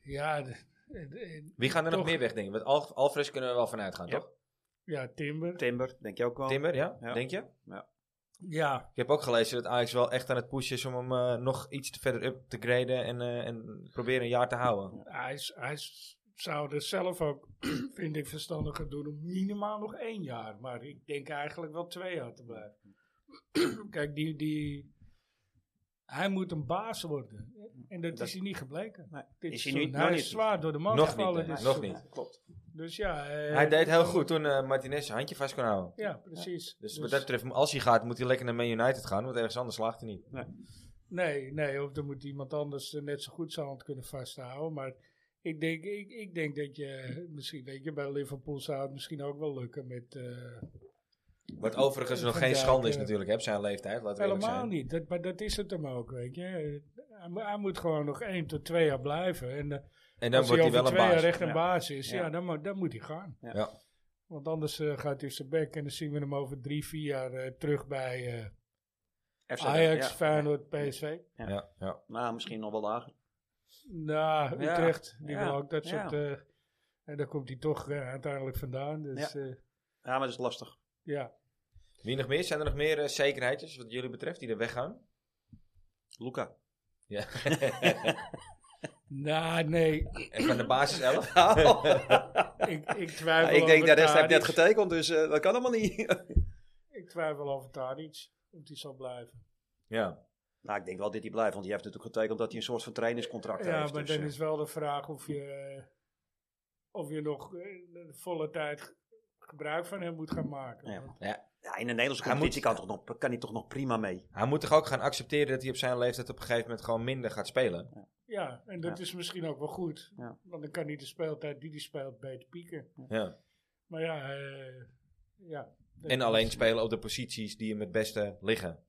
S2: ja, de- de- de-
S1: Wie gaan er nog
S2: Toch.
S1: meer weg, denk je? Want Al Alvarez kunnen we wel vanuit gaan,
S4: Ja.
S1: toch?
S2: ja, Timber.
S4: Timber, denk je ook wel.
S1: Timber, ja?
S4: Ja.
S1: Denk je?
S2: Ja,
S1: Ik heb ook gelezen dat Ajax wel echt aan het pushen is om hem eh, nog iets te verder up te graden en, eh, en proberen een jaar te houden.
S2: Hij, is- hij is- zou er zelf ook, [CLEARS THROAT] vind ik, verstandiger doen om minimaal nog één jaar. Maar ik denk eigenlijk wel twee jaar te blijven. [CLEARS THROAT] Kijk, die, die, hij moet een baas worden. En dat,
S4: Dat-
S2: is hij niet gebleken.
S4: Nee.
S2: Dit
S4: Is hij
S2: seizoen.
S4: niet- nog
S2: hij
S4: niet.
S2: is zwaar door de man
S1: Nog
S2: gevallen.
S1: niet, hè?
S2: dit
S1: Nog
S2: seizoen.
S1: niet.
S4: Klopt.
S2: Dus ja. eh,
S1: Hij deed heel goed toen eh, Martinez zijn handje vast kon houden.
S2: Ja, precies.
S1: Dus wat dat betreft, als hij gaat, moet hij lekker naar Man United gaan, want ergens anders slaagt hij niet.
S2: Nee, nee, of dan moet iemand anders eh, net zo goed zijn hand kunnen vasthouden. Maar ik denk, ik, ik denk dat je eh, misschien, weet je, bij Liverpool zou het misschien ook wel lukken met. eh,
S1: Wat overigens nog
S2: Van
S1: geen
S2: Dijk,
S1: schande is
S2: eh,
S1: natuurlijk, hè, op zijn leeftijd, laten we eerlijk
S2: Helemaal
S1: zijn.
S2: niet, dat, maar dat is het hem ook, weet je. Hij, mo- hij moet gewoon nog één tot twee jaar blijven. En eh,
S1: En dan
S2: als
S1: wordt
S2: hij
S1: hij
S2: over
S1: wel een
S2: twee jaar
S1: baas.
S2: echt een
S4: Ja.
S2: baas is, ja,
S4: Ja.
S2: dan, mo- dan moet hij gaan.
S4: Ja.
S1: Ja.
S2: Want anders eh, gaat hij op zijn bek en dan zien we hem over drie, vier jaar eh, terug bij eh,
S4: FC
S2: Ajax,
S4: ja.
S2: Feyenoord, PSV.
S4: Ja.
S1: Ja, ja.
S4: Nou, misschien nog wel lager.
S2: Nou,
S4: Ja.
S2: Utrecht, die
S4: Ja.
S2: wil ook dat
S4: Ja.
S2: soort... eh, en daar komt hij toch eh, uiteindelijk vandaan, dus ja.
S4: Ja, maar dat is lastig.
S2: ja.
S1: Wie nog meer? Zijn er nog meer eh, zekerheidjes wat jullie betreft die er weggaan?
S4: [LAUGHS] Luca.
S1: Ja.
S2: Nou, nee,
S1: en van de basis 11?
S2: ik, ik twijfel
S4: Oh. ik denk,
S2: over
S4: dat heeft net
S2: Tadic.
S4: getekend, dus eh, dat kan allemaal niet. [LAUGHS]
S2: Ik twijfel over Tadic, of die zal blijven.
S1: ja.
S4: nou, ik denk wel dat hij blijft, want hij heeft natuurlijk getekend dat hij een soort van trainingscontract
S2: Ja,
S4: heeft.
S2: maar
S4: dus,
S2: dan
S4: eh,
S2: is wel de vraag of je, eh, of je nog eh, de volle tijd g- gebruik van hem moet gaan maken.
S4: Ja.
S2: Want-
S4: ja, in de Nederlandse
S1: Hij
S4: competitie
S1: moet-
S4: kan, toch nog, kan hij toch nog prima mee.
S1: Hij moet toch ook gaan accepteren dat hij op zijn leeftijd op een gegeven moment gewoon minder gaat spelen?
S2: Ja, ja, en dat is misschien ook wel goed.
S4: Ja.
S2: Want dan kan hij de speeltijd die hij speelt beter pieken.
S1: Ja.
S2: Maar ja, eh, ja.
S1: En alleen spelen op de posities die hem het beste liggen.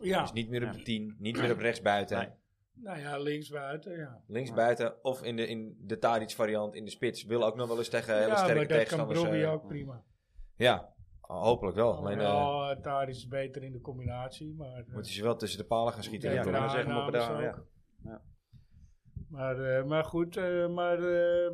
S2: Ja,
S1: Dus niet meer op
S4: Ja.
S1: de 10, niet meer op rechtsbuiten.
S4: Nee.
S2: nou ja, linksbuiten, ja.
S1: Linksbuiten of in de, in de Tadic variant in de spits. Wil ook nog wel eens tegen hele
S2: ja,
S1: sterke
S2: maar dat kan
S1: tegenstanders.
S2: Brobbey
S1: eh,
S2: ook prima.
S1: ja, hopelijk wel. Alleen eh,
S2: Alhoewel, eh, Tadic is beter in de combinatie, maar... eh,
S1: moeten ze wel tussen de palen gaan schieten.
S2: Ja,
S1: denk ik.
S2: ja,
S4: maar zeg
S2: ja,
S4: maar op
S2: dat is
S4: daar,
S2: ook.
S4: ja. Ja.
S2: Maar, eh, maar goed, eh, maar eh,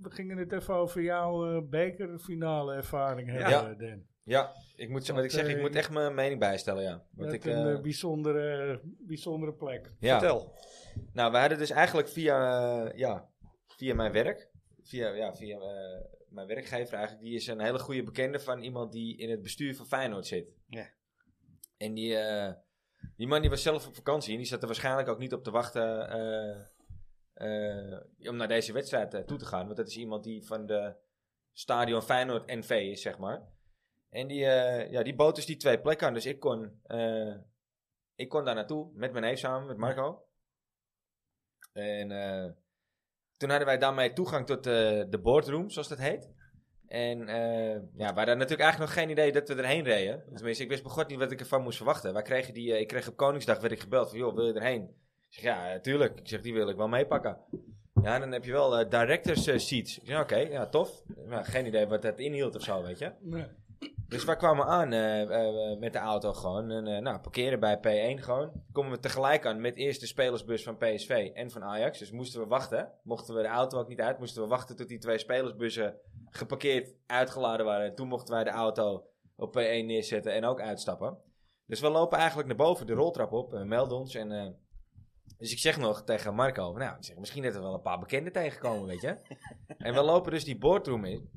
S2: we gingen het even over jouw eh, bekerfinale ervaring hebben,
S1: Ja.
S2: Dan.
S1: Ja, ik moet, wat ik zeg, ik
S2: eh,
S1: moet echt mijn mening bijstellen, ja. Want
S2: Met
S1: ik,
S2: een
S1: eh,
S2: eh, bijzondere, bijzondere plek.
S1: ja.
S3: Vertel.
S1: Nou, we hadden dus eigenlijk via, eh, ja, via mijn werk, via, ja, via eh, mijn werkgever eigenlijk, die is een hele goede bekende van iemand die in het bestuur van Feyenoord zit.
S3: Ja.
S1: En die, eh, die man die was zelf op vakantie en die zat er waarschijnlijk ook niet op te wachten eh, eh, om naar deze wedstrijd eh, toe te gaan. Want dat is iemand die van de stadion Feyenoord NV is, zeg maar. En die, eh, ja, die bood dus die twee plekken aan. Dus ik kon, eh, ik kon daar naartoe met mijn neef samen, met Marco. En eh, toen hadden wij daarmee toegang tot eh, de boardroom, zoals dat heet. En eh, ja, we hadden natuurlijk eigenlijk nog geen idee dat we erheen reden. Tenminste, ik wist begot niet wat ik ervan moest verwachten. Wij kregen die, eh, ik kreeg op Koningsdag werd ik gebeld van, joh, wil je erheen? Ik zeg, ja, eh, tuurlijk. Ik zeg, die wil ik wel meepakken. Ja, dan heb je wel eh, directors eh, seats. Ik zeg, oké, ja, tof. Maar geen idee wat dat inhield of zo, weet je.
S2: Nee.
S1: Dus wij kwamen aan eh, eh, met de auto gewoon. En, eh, nou, parkeren bij P1 gewoon. Komen we tegelijk aan met eerst de spelersbus van PSV en van Ajax. Dus moesten we wachten. Mochten we de auto ook niet uit, moesten we wachten tot die twee spelersbussen geparkeerd uitgeladen waren. En toen mochten wij de auto op P1 neerzetten en ook uitstappen. Dus we lopen eigenlijk naar boven de roltrap op. en melden ons en... eh, dus ik zeg nog tegen Marco, nou, ik zeg, misschien dat er wel een paar bekenden tegenkomen, weet je. en we lopen dus die boardroom in.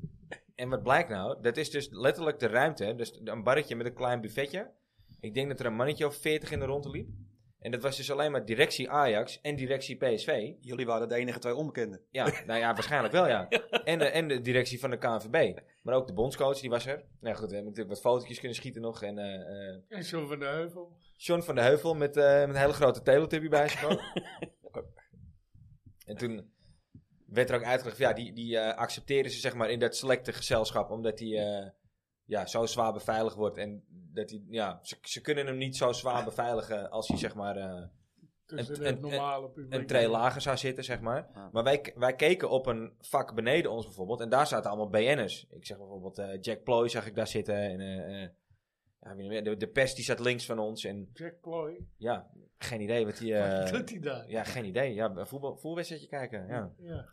S1: En wat blijkt nou? Dat is dus letterlijk de ruimte. Dus een barretje met een klein buffetje. Ik denk dat er een mannetje of 40 in de rondte liep. En dat was dus alleen maar directie Ajax en directie PSV.
S4: Jullie waren de enige twee onbekenden.
S1: Ja, nou ja, waarschijnlijk wel, ja. En de, en de directie van de KNVB. Maar ook de bondscoach, die was er. Nou goed, we hebben natuurlijk wat fotootjes kunnen schieten nog. En eh, eh,
S2: En John van de Heuvel.
S1: John van de Heuvel met, eh, met een hele grote teletubby bij zich ook. en toen werd er ook uitgelegd, van, ja, die, die eh, accepteren ze zeg maar in dat selecte gezelschap, omdat hij eh, ja, zo zwaar beveiligd wordt. En dat hij, ja, ze, ze kunnen hem niet zo zwaar beveiligen als hij zeg maar eh,
S2: Tussen
S1: Een-
S2: het
S1: een-
S2: normale publiek.
S1: een tree lager zou zitten, zeg maar.
S4: Ja.
S1: Maar wij, wij keken op een vak beneden ons bijvoorbeeld. En daar zaten allemaal BN'ers. Ik zeg bijvoorbeeld eh, Jack Ploy zag ik daar zitten. En, eh, eh, ja, wie nog meer? de, de pest die zat links van ons. En
S2: Jack Ploy.
S1: ja, geen idee wat die... eh,
S2: Wat doet hij daar?
S1: ja, geen idee. Ja, een voetbal, voetbalwedstrijdje kijken, ja.
S2: Ja.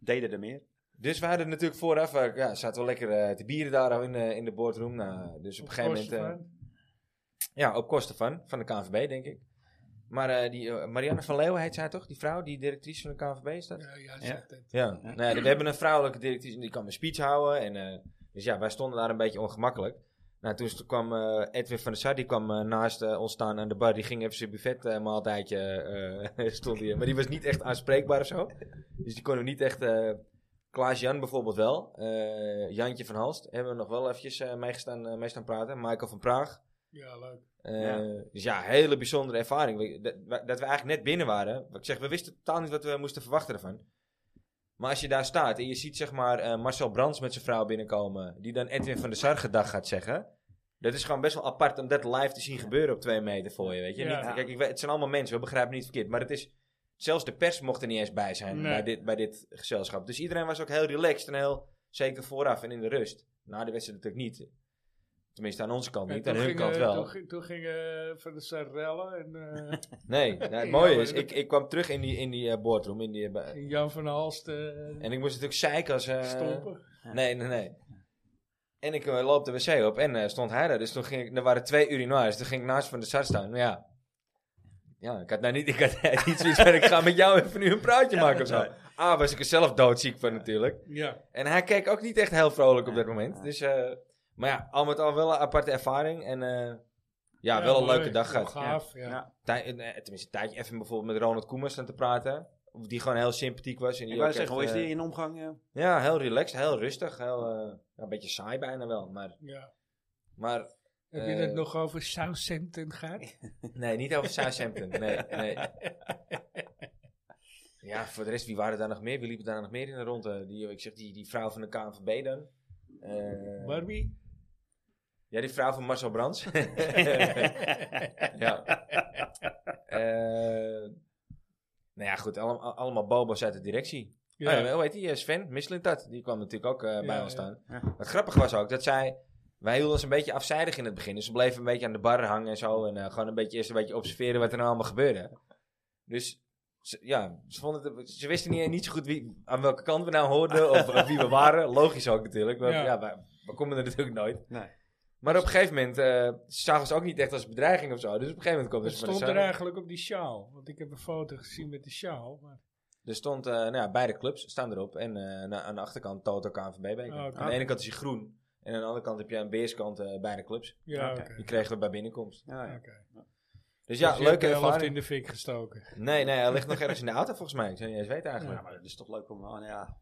S4: Deden er meer.
S1: Dus we hadden natuurlijk vooraf... eh, ja, zaten we lekker eh, te bieren daar al in, eh, in de boardroom. Nou, dus op een gegeven moment...
S2: kosten
S1: eh,
S2: van-
S1: ja, op kosten van. Van de KNVB, denk ik. Maar eh, die, eh, Marianne van Leeuwen heet zij toch? Die vrouw, die directrice van de KNVB is dat?
S2: Ja, ja, zegt het.
S1: eh, Ja, nou ja, we hebben een vrouwelijke directrice en die kan mijn speech houden. En, eh, dus ja, wij stonden daar een beetje ongemakkelijk. Nou, toen st- kwam eh, Edwin van der Sar, die kwam eh, naast eh, ons staan aan de bar. Die ging even zijn buffetmaaltijdje, eh [LAUGHS] stond hier. Maar die was niet echt aanspreekbaar of zo. Dus die konden we niet echt... eh, Klaas-Jan bijvoorbeeld wel. Eh, Jantje van Halst hebben we nog wel eventjes eh, mee, gestaan, eh, mee staan praten. Michael van Praag.
S2: Ja, leuk.
S1: Eh,
S4: Ja.
S1: Dus ja, hele bijzondere ervaring. We- Dat, we- dat we eigenlijk net binnen waren. Wat Ik zeg, we wisten totaal niet wat we moesten verwachten ervan. Maar als je daar staat en je ziet zeg maar eh, Marcel Brands met zijn vrouw binnenkomen. Die dan Edwin van der Sar gedag gaat zeggen. Dat is gewoon best wel apart om dat live te zien gebeuren op twee meter voor je. Weet je?
S2: Ja.
S1: Niet, kijk, ik weet, het zijn allemaal mensen, we begrijpen het niet verkeerd. Maar het is, zelfs de pers mocht er niet eens bij zijn
S2: Nee.
S1: bij, dit, bij dit gezelschap. Dus iedereen was ook heel relaxed en heel zeker vooraf en in de rust. Na de wedstrijd natuurlijk niet. Tenminste aan onze kant
S2: En
S1: niet,
S2: toen
S1: aan hun
S2: ging,
S1: kant
S2: eh,
S1: wel.
S2: Toen, ging- toen gingen eh, Van de Sarrellen en eh, [LAUGHS]
S1: Nee, nou, het
S2: Ja,
S1: mooie
S2: maar
S1: is,
S2: dat-
S1: ik, ik kwam terug in die, in die eh, boardroom. In die, eh, ba-
S2: en Jan van Halst eh
S1: en ik moest natuurlijk zeiken als... eh,
S2: stompen.
S1: Nee, nee, nee. En ik eh, loop de wc op en eh, stond hij daar. Dus toen ging ik, er waren twee urinoirs. Toen ging ik naast van de start staan. Maar ja, ja ik had nou niet, [LAUGHS] ik had niet zoiets van, ik ga met jou even nu een praatje maken of zo. Ah, was ik er zelf doodziek van natuurlijk.
S2: Ja.
S1: En hij keek ook niet echt heel vrolijk op dat moment. Dus, eh, maar ja, al met al wel een aparte ervaring. En eh, ja, wel een
S2: mooi.
S1: leuke dag gehad.
S2: Gaaf, ja.
S4: Ja.
S1: Tij- eh, nee, tenminste, een tijdje even bijvoorbeeld met Ronald Koeman staan te praten. Of Die gewoon heel sympathiek was. En die
S4: Ik wou
S1: ook
S4: zeggen, hoe
S1: echt,
S4: is
S1: eh,
S4: die in omgang? eh?
S1: Ja, heel relaxed, heel rustig. Heel, eh, ja, een beetje saai bijna wel. Maar,
S2: Ja.
S1: maar
S2: Heb je
S1: Eh,
S2: het nog
S4: eh,
S2: over Southampton gehad?
S4: [LAUGHS]
S1: nee, niet over Southampton. Nee, nee. Ja, voor de rest, wie waren daar nog meer? Wie liepen daar nog meer in de ronde? Die, ik zeg, die, die vrouw van de KNVB dan. Eh,
S2: Barbie?
S4: oh
S1: ja, die vrouw van Marcel Brands. ja. Eh, nou ja, goed. allem- allemaal bobo's uit de directie.
S2: Ja.
S1: Oh ja, hoe heet die? Eh, Sven Mislintat. Die kwam natuurlijk ook eh, bij
S2: Ja,
S1: ons
S2: ja.
S1: staan.
S4: Ja.
S1: Wat grappig was ook, dat zij... Wij hielden ons een beetje afzijdig in het begin. Dus we bleven een beetje aan de bar hangen en zo. En eh, gewoon een beetje, eerst een beetje observeren wat er nou allemaal gebeurde. Dus ze, ja, ze, vonden het- ze wisten niet, niet zo goed wie, aan welke kant we nou hoorden of, of wie we waren. Logisch ook natuurlijk. Want, ja.
S2: Ja.
S1: wij, we komen er natuurlijk nooit.
S4: Nee.
S1: Maar op een gegeven moment eh, ze zagen ze ook niet echt als bedreiging of zo. Dus op een gegeven moment kwam
S2: Wat
S1: dus
S2: stond er eigenlijk op die sjaal? Want ik heb een foto gezien met de sjaal. Maar...
S1: Er stond, eh, nou ja, beide clubs staan erop. En eh, na- aan de achterkant Toto KNVB beker.
S2: Ah, oké.
S1: Aan de ene kant is hij groen. En aan de andere kant heb je aan beerskant eh beide clubs.
S2: Ja,
S4: Oké.
S2: oké.
S1: Die kregen we bij binnenkomst.
S4: Ja, ja.
S2: oké.
S1: Dus
S2: Dus
S1: ja,
S2: je hebt
S1: leuke
S2: de helft
S1: ervaring.
S2: in de fik gestoken.
S1: Nee, nee, hij ligt
S2: [LAUGHS]
S1: nog ergens in de auto volgens mij. Ik zou niet eens weten
S4: Ja,
S1: eigenlijk.
S4: maar dat is toch leuk om... oh, Ja.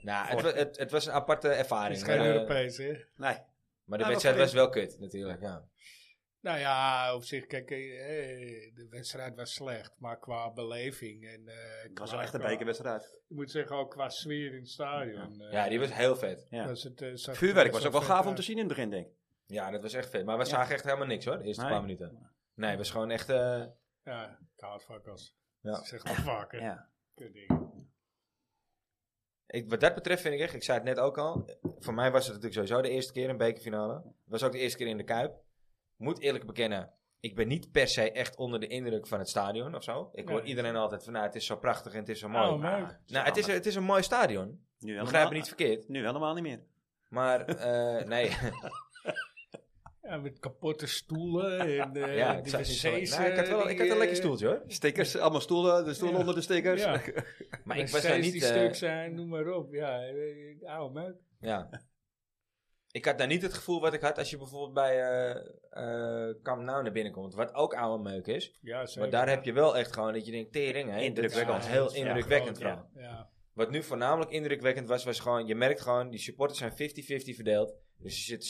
S1: Nou, het, wa- het, het was een aparte
S2: Het
S1: ervaring.
S2: is geen
S1: maar, eh,
S2: Europees, Ah, hè?
S4: Nee.
S1: maar de
S4: Ja,
S1: wedstrijd
S4: oké.
S1: was wel kut natuurlijk, ja.
S2: Nou ja, op zich, kijk, eh, eh, de wedstrijd was slecht. Maar qua beleving en... eh,
S4: Het was
S2: qua-
S4: wel echt een
S2: qua-
S4: bekerwedstrijd.
S2: Ik moet zeggen, ook qua sfeer in het stadion. eh,
S1: Ja, die was heel vet.
S4: Ja.
S2: was het, eh, zag-
S4: Vuurwerk was
S2: zag
S4: ook wel
S2: vet
S4: gaaf om
S2: uit.
S4: te zien in het begin, denk ik.
S1: Ja, dat was echt vet. Maar we
S4: Ja.
S1: zagen echt helemaal niks hoor, de eerste
S4: Nee.
S1: paar minuten. Nee, het was gewoon echt... eh,
S2: Ja, kaartvakkers.
S1: Ja.
S2: Ik zeg wel vaker.
S4: Ja.
S2: Kutdingen.
S1: Ik, wat dat betreft vind ik echt, ik zei het net ook al, voor mij was het natuurlijk sowieso de eerste keer een bekerfinale. Het was ook de eerste keer in de Kuip. Moet eerlijk bekennen, ik ben niet per se echt onder de indruk van het stadion of zo. Ik hoor
S2: Nee.
S1: iedereen altijd van, nou het is zo prachtig en het is zo mooi.
S2: Oh, leuk.
S1: nou, het is, het is een mooi stadion.
S4: Nu helemaal,
S1: Begrijp me niet verkeerd.
S4: nu helemaal niet meer.
S1: Maar,
S2: [LAUGHS]
S1: eh, nee.
S2: Ja, met kapotte
S1: [LAUGHS]
S2: stoelen en eh
S1: ja,
S2: die
S1: het zat niet
S2: wc's.
S1: zo- nou, ik had
S2: eh,
S1: wel ik had een lekker
S2: stoel.
S1: stoeltje hoor.
S4: Stickers, allemaal stoelen, de stoelen
S2: Ja.
S4: onder de stickers.
S2: Ja.
S1: Maar ik was daar niet...
S2: die
S1: eh,
S2: stuk zijn, noem maar op. Ja, eh, oude meuk.
S1: Ja. Ik had daar niet het gevoel wat ik had als je bijvoorbeeld bij eh eh Camp Nou naar binnen komt. Wat ook oude meuk is.
S2: Ja,
S1: Maar
S2: zeker.
S1: daar heb je wel echt gewoon dat je denkt, tering hè.
S4: Indrukwekkend.
S1: Dat is wel
S2: Ja,
S1: heel indrukwekkend
S2: groot,
S1: vooral.
S2: Ja.
S1: Wat nu voornamelijk indrukwekkend was, was gewoon, je merkt gewoon, die supporters zijn 50-50 verdeeld. Dus je zit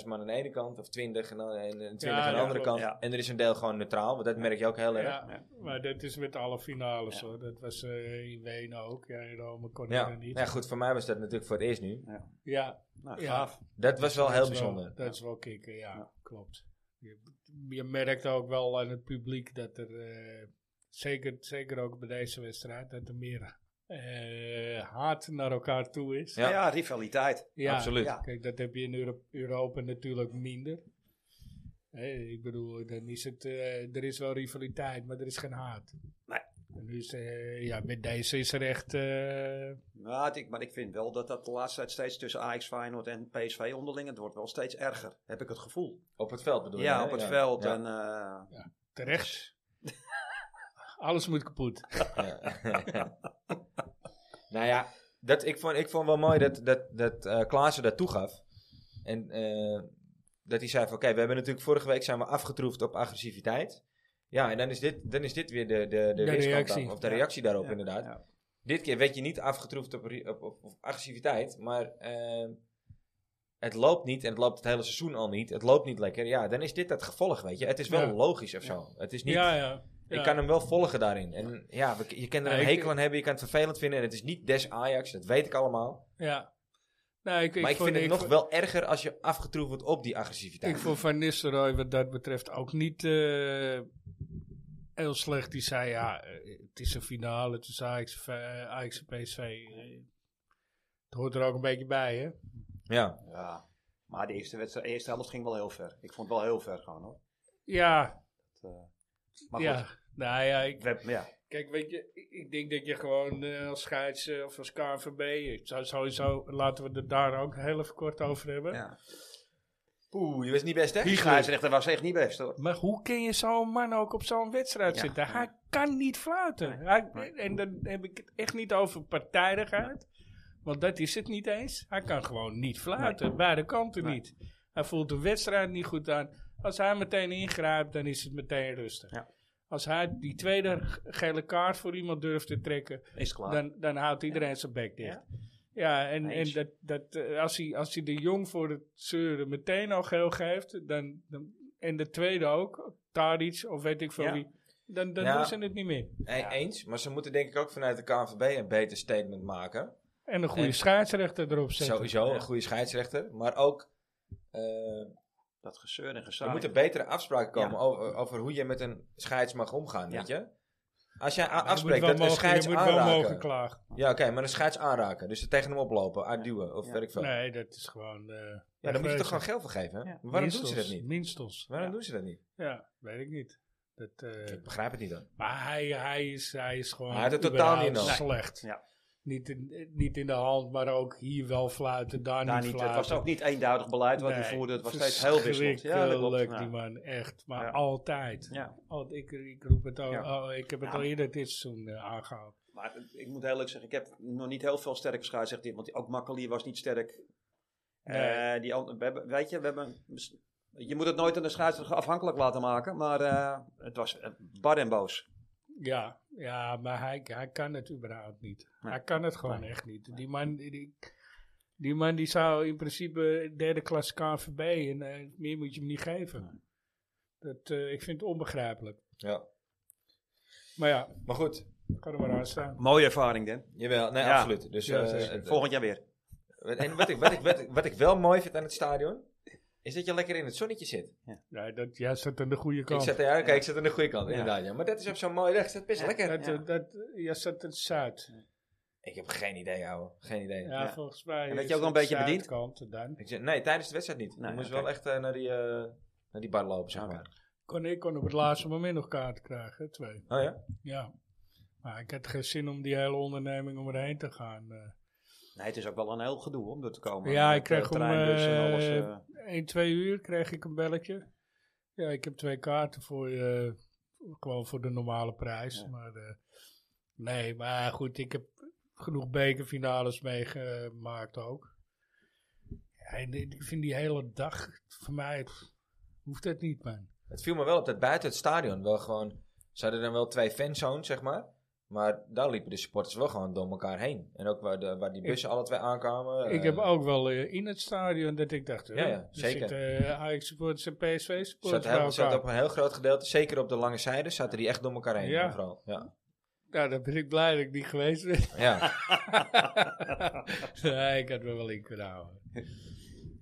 S1: 17.000 man aan de ene kant, of 20 en, dan- en, en 20
S2: Ja,
S1: aan de
S2: ja,
S1: andere
S2: klopt.
S1: kant.
S4: Ja.
S1: En er is een deel gewoon neutraal, want dat merk je ook heel
S2: Ja.
S1: erg.
S2: Ja. maar dat is met alle finales hoor. Dat was eh, in Wenen ook. Ja, in Rome kon je
S1: Ja.
S2: er niet.
S1: Nou ja, goed, voor mij was dat natuurlijk voor het eerst nu.
S2: Ja,
S4: [LAUGHS] Nou,
S2: Ja.
S4: gaaf.
S1: Dat was wel
S2: dat
S1: heel
S2: is
S1: bijzonder.
S2: dat is wel kicken, ja. Klopt. Je, je merkt ook wel aan het publiek dat er, eh, zeker, zeker ook bij deze wedstrijd, dat er meer eh, haat naar elkaar toe is.
S1: Ja.
S4: Nou Ja, rivaliteit.
S2: Ja,
S1: Absoluut.
S4: ja.
S2: Kijk, dat heb je in Euro- Europa natuurlijk minder. Hè, ik bedoel, dan is het, eh, er is wel rivaliteit, maar er is geen haat.
S4: Nee.
S2: En dus, eh, ja, met deze is er echt... eh,
S4: Nou, het- ik, maar ik vind wel dat dat de laatste tijd steeds tussen Ajax, Feyenoord en PSV onderling, het wordt wel steeds erger, heb ik het gevoel.
S1: Op het veld bedoel je?
S4: ja,
S1: hè?
S4: op het veld.
S1: Ja.
S4: En, eh,
S1: [LAUGHS]
S2: terecht. Alles moet kapot.
S1: Ja. [LAUGHS] nou ja, dat, ik, vond, ik vond wel mooi dat, dat, dat eh Klaassen dat toegaf. En eh, dat hij zei van, oké, we hebben natuurlijk vorige week zijn we afgetroefd op agressiviteit. Ja, en dan is dit, dan is dit weer de, de, de, weerstand
S2: reactie.
S1: daarop, of de
S4: Ja.
S1: reactie daarop,
S4: Ja.
S1: inderdaad.
S4: Ja.
S1: Dit keer werd je niet afgetroefd op, re- op, op, op agressiviteit, maar eh, het loopt niet en het loopt het hele seizoen al niet. Het loopt niet lekker. Ja, dan is dit het gevolg, weet je. Het is wel
S2: Ja.
S1: logisch of zo. Het is niet
S2: Ja, ja.
S1: ik
S2: ja.
S1: kan hem wel volgen daarin. En ja, we- je kan er
S2: Ja,
S1: een
S2: ik-
S1: hekel aan hebben, je kan het vervelend vinden. En het is niet des Ajax, dat weet ik allemaal.
S2: Ja. Nou, ik,
S1: maar ik
S2: vond-
S1: vind het nog
S2: vond-
S1: wel erger als je afgetroefd wordt op die agressiviteit.
S2: Ik vond Van Nistelrooy wat dat betreft ook niet eh, heel slecht. Die zei, ja, eh, het is een finale tussen Ajax, en V- eh, Ajax en PSV. Eh, Het hoort er ook een beetje bij, hè?
S1: Ja,
S4: ja. Maar de eerste, wedstrijd, eerste helft ging wel heel ver. Ik vond het wel heel ver gaan hoor.
S2: Ja,
S4: Het, eh, maar
S2: ja.
S4: goed,
S2: Nou ja, ik,
S4: we hebben- ja.
S2: kijk, weet je, ik- ik denk dat je gewoon eh, als scheids eh, of als KNVB, ik zou sowieso, laten we het daar ook heel even kort over hebben.
S4: ja.
S1: oeh, je was niet best, hè?
S4: Die scheidsrechter was echt niet best hoor.
S2: Maar hoe kun je zo'n man ook op zo'n wedstrijd
S4: Ja.
S2: zitten? Hij kan niet fluiten. Hij-
S4: Nee.
S2: En dan heb ik het echt niet over partijdigheid. Want dat is het niet eens. Hij kan gewoon niet fluiten. Beide kanten
S4: Nee.
S2: niet. Hij voelt de wedstrijd niet goed aan. Als hij meteen ingrijpt, dan is het meteen rustig.
S4: Ja.
S2: Als hij die tweede ge- gele kaart voor iemand durft te trekken,
S4: Is klaar.
S2: dan, dan houdt iedereen zijn bek dicht.
S4: Ja.
S2: Ja, en, en
S4: Eens.
S2: dat, dat, eh, als, hij, als hij de jong voor het zeuren meteen al geel geeft, dan, dan, en de tweede ook, Tadic of weet ik veel
S4: Ja.
S2: wie, Dan, dan
S1: Ja.
S2: doen ze het niet meer.
S1: E- Eens, maar ze moeten denk ik ook vanuit de KNVB een beter statement maken.
S2: En een goede
S1: En-
S2: scheidsrechter erop zetten.
S1: Sowieso
S3: ja.
S1: een goede scheidsrechter, maar ook eh,
S3: Dat gezeur en
S1: er
S3: gezaai.
S1: moeten betere afspraken komen over, over hoe je met een scheids mag omgaan,
S3: Ja.
S1: weet je? Als jij a-
S2: Je moet
S1: afspreekt
S2: wel
S1: dat een
S2: mogen-
S1: scheids
S2: Je moet wel mogen
S1: aanraken.
S2: klagen.
S1: Ja, oké, maar een scheids aanraken. Dus er tegen hem oplopen, uitduwen of
S3: Ja.
S1: weet ik veel.
S2: Nee, dat is gewoon... eh,
S1: Ja, dan moet je
S2: wegwezen.
S1: toch gewoon geld voor geven. hè?
S3: Ja.
S1: Maar Waarom doen ze
S2: Minstens,
S1: dat niet?
S2: Minstens.
S1: Waarom
S2: Ja.
S1: doen ze dat niet?
S2: Ja, weet ik niet. Dat, eh,
S1: Ik begrijp het niet dan.
S2: maar hij, hij, is, hij is gewoon
S1: Hij had het totaal niet
S2: überhaupt
S1: nodig.
S2: slecht.
S3: Ja.
S2: Niet, in, niet in de hand, maar ook hier wel fluiten, daar,
S3: Daar
S2: niet
S3: niet, het
S2: fluiten.
S3: was ook niet eenduidig beleid wat hij
S2: Nee,
S3: voerde. Het was steeds heel wisselend. Ja, dat klopt.
S2: verschrikkelijk, die
S3: Ja.
S2: man, echt. Maar
S3: Ja.
S2: altijd.
S3: Ja.
S2: Al- ik, ik roep het al,
S3: Ja.
S2: oh, ik heb het
S3: Ja.
S2: al eerder dit seizoen eh, aangehaald.
S3: Maar
S4: Ik moet eerlijk zeggen, ik heb nog niet heel veel sterke scheidsrechters. Want die- ook Makkelier was niet sterk.
S2: Nee.
S4: Eh, die, an- we hebben, weet je, we hebben, mis- je moet het nooit aan de scheidsrechter afhankelijk laten maken. Maar eh, het was eh, bar en boos.
S2: Ja, ja maar hij, hij kan het überhaupt niet.
S4: Nee.
S2: Hij kan het gewoon echt niet. Die man die, die man die zou in principe derde klas KNVB en eh, meer moet je hem niet geven. Dat, eh, ik vind het onbegrijpelijk.
S1: Ja.
S2: Maar ja,
S1: Maar goed,
S2: kan er maar aan staan.
S4: Mooie ervaring, Dan.
S1: jawel. Nee,
S4: Ja.
S1: absoluut. Dus,
S2: Ja,
S1: eh,
S2: zeker.
S1: het-
S4: Volgend jaar weer.
S1: [LAUGHS] en wat ik, wat, ik, wat, ik, wat ik wel mooi vind aan het stadion, is dat je lekker in het zonnetje zit.
S2: Ja, dat, jij zit aan de goede kant.
S1: Ik zat, ja, kijk, ik zat aan de goede kant, inderdaad. Ja. Maar dat is op zo'n mooie dag, is dat best lekker.
S2: dat, eh, dat, jij zit aan het zuid.
S1: Ik heb geen idee, ouwe. Geen idee.
S2: Ja,
S4: Ja.
S2: volgens mij.
S4: En werd je
S2: is
S4: ook wel een
S2: het
S4: beetje bediend?
S2: zuidkant Dan.
S1: Ik zeg, nee, tijdens de wedstrijd niet.
S4: Nee,
S1: je moest
S4: oké.
S1: wel echt eh, naar, die, eh, naar die bar lopen, zeg
S4: Oké.
S1: maar.
S2: Kon, ik kon op het laatste moment nog kaart krijgen, twee.
S1: Oh ja?
S2: Ja. Maar ik had geen zin om die hele onderneming om erheen te gaan. eh.
S4: Nee, het is ook wel een heel gedoe om er te komen.
S2: Ja,
S4: Met,
S2: ik kreeg
S4: eh,
S2: om,
S4: treinbus en alles.
S2: eh, [LAUGHS]
S4: eh.
S2: 1, 2 uur kreeg ik een belletje. Ja, ik heb twee kaarten voor je. Gewoon voor de normale prijs. Maar, eh, nee, maar goed, ik heb genoeg bekerfinales meegemaakt ook. Ja, en ik vind die hele dag, voor mij pff, hoeft dat niet, man.
S1: Het viel me wel op dat buiten het stadion wel gewoon... Ze hadden dan wel twee fanzones, zeg maar. Maar daar liepen de supporters wel gewoon door elkaar heen. En ook waar, de, waar die bussen alle twee aankwamen.
S2: ik
S1: eh,
S2: heb ook wel eh, in het stadion dat ik dacht, oh,
S1: Ja, ja,
S2: er
S1: zeker.
S2: zitten eh, Ajax supporters en PSV
S1: Zat,
S2: supporters bij
S1: heel, zat
S2: elkaar.
S1: op een heel groot gedeelte, zeker op de lange zijde, zaten die echt door elkaar heen.
S2: Ja.
S1: Vooral. Ja.
S2: Nou, dan ben ik blij dat ik niet geweest
S1: [LAUGHS]
S2: ben.
S1: ja.
S2: nee, ik had me wel in kunnen houden.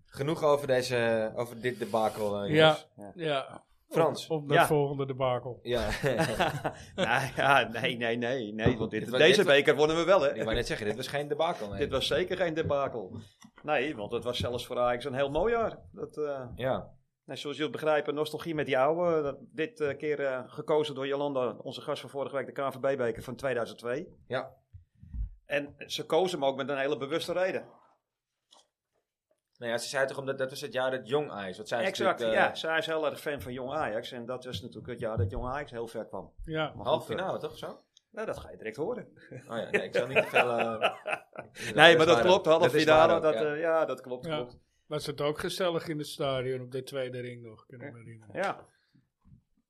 S1: Genoeg over, deze, over dit debakel, eh, jongens.
S2: Ja, ja.
S1: Frans.
S2: Op, op naar
S3: Ja.
S2: het volgende debakel.
S1: Ja. [LAUGHS]
S4: nou, ja, nee, nee, nee, nee. Want dit,
S1: Dit was-
S4: deze
S1: dit was-
S4: beker wonnen we wel, hè?
S1: Ik wou net zeggen, dit was geen debakel. nee.
S4: Dit was zeker geen debakel. Nee, want het was zelfs voor Ajax een heel mooi jaar. Dat, eh,
S1: Ja,
S4: nou, zoals jullie begrijpen, nostalgie met die oude. Dat, dit eh, keer eh, gekozen door Jolanda, onze gast van vorige week, de KNVB-beker van 2002.
S1: ja.
S4: En ze kozen hem ook met een hele bewuste reden.
S1: Nou ja, ze zei toch omdat dat was het jaar dat jong Ajax. Wat zij
S4: exact,
S1: natuurlijk, eh,
S4: ja. Zij is heel erg fan van Jong Ajax. En dat was natuurlijk het jaar dat Jong Ajax heel ver kwam.
S2: Ja,
S4: Maar
S1: Half
S4: goed, eh,
S1: finale toch zo?
S4: nou, dat ga je direct horen.
S1: Oh ja, nee, ik zal niet te veel.
S4: [LAUGHS]
S1: eh,
S4: Nee, maar
S1: is
S4: dat
S1: waar
S4: klopt.
S1: ook.
S4: Half
S1: Dat is
S4: finale.
S1: waar ook,
S4: dat,
S1: ja.
S4: eh, ja, dat klopt.
S2: Ja.
S4: klopt.
S2: was het ook gezellig in het stadion op de tweede ring nog, kan ik me herinneren.
S4: Ja.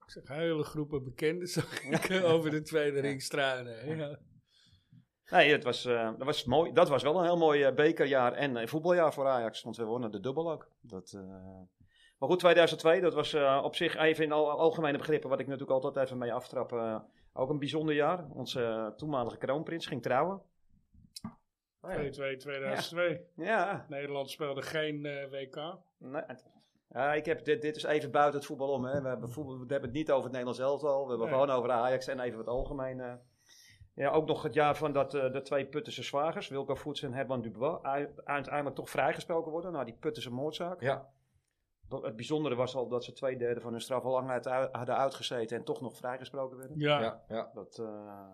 S2: Ik zag hele groepen bekenden zag ik eh, [LAUGHS] over de tweede ring struinen. Ja.
S4: Oh, Nee, het was, eh, dat, was mooi. dat was wel een heel mooi eh, bekerjaar en eh, voetbaljaar voor Ajax. Want we wonnen de dubbel ook. Dat, eh, Maar goed, 2002, dat was eh, op zich even in al, algemene begrippen, wat ik natuurlijk altijd even mee aftrap. eh, ook een bijzonder jaar. Onze eh, toenmalige kroonprins ging trouwen.
S2: 2-2 2002.
S4: Ja,
S2: Nederland speelde geen eh, WK.
S4: Nee, het- ja, ik heb, dit, dit is even buiten het voetbal om. Hè. We, hebben voetbal, we hebben het niet over het Nederlands elftal. We hebben
S2: Nee.
S4: gewoon over Ajax en even wat algemeen. eh. Ja, ook nog het jaar van dat eh, de twee Puttense zwagers, Wilco Voets en Herman Dubois, ui- uiteindelijk toch vrijgesproken worden na die Puttense moordzaak.
S1: Ja.
S4: Dat- Het bijzondere was al dat ze twee derde van hun straf al lang uit- eh, hadden uitgezeten en toch nog vrijgesproken werden.
S2: Ja,
S1: Ja, ja.
S4: Dat eh,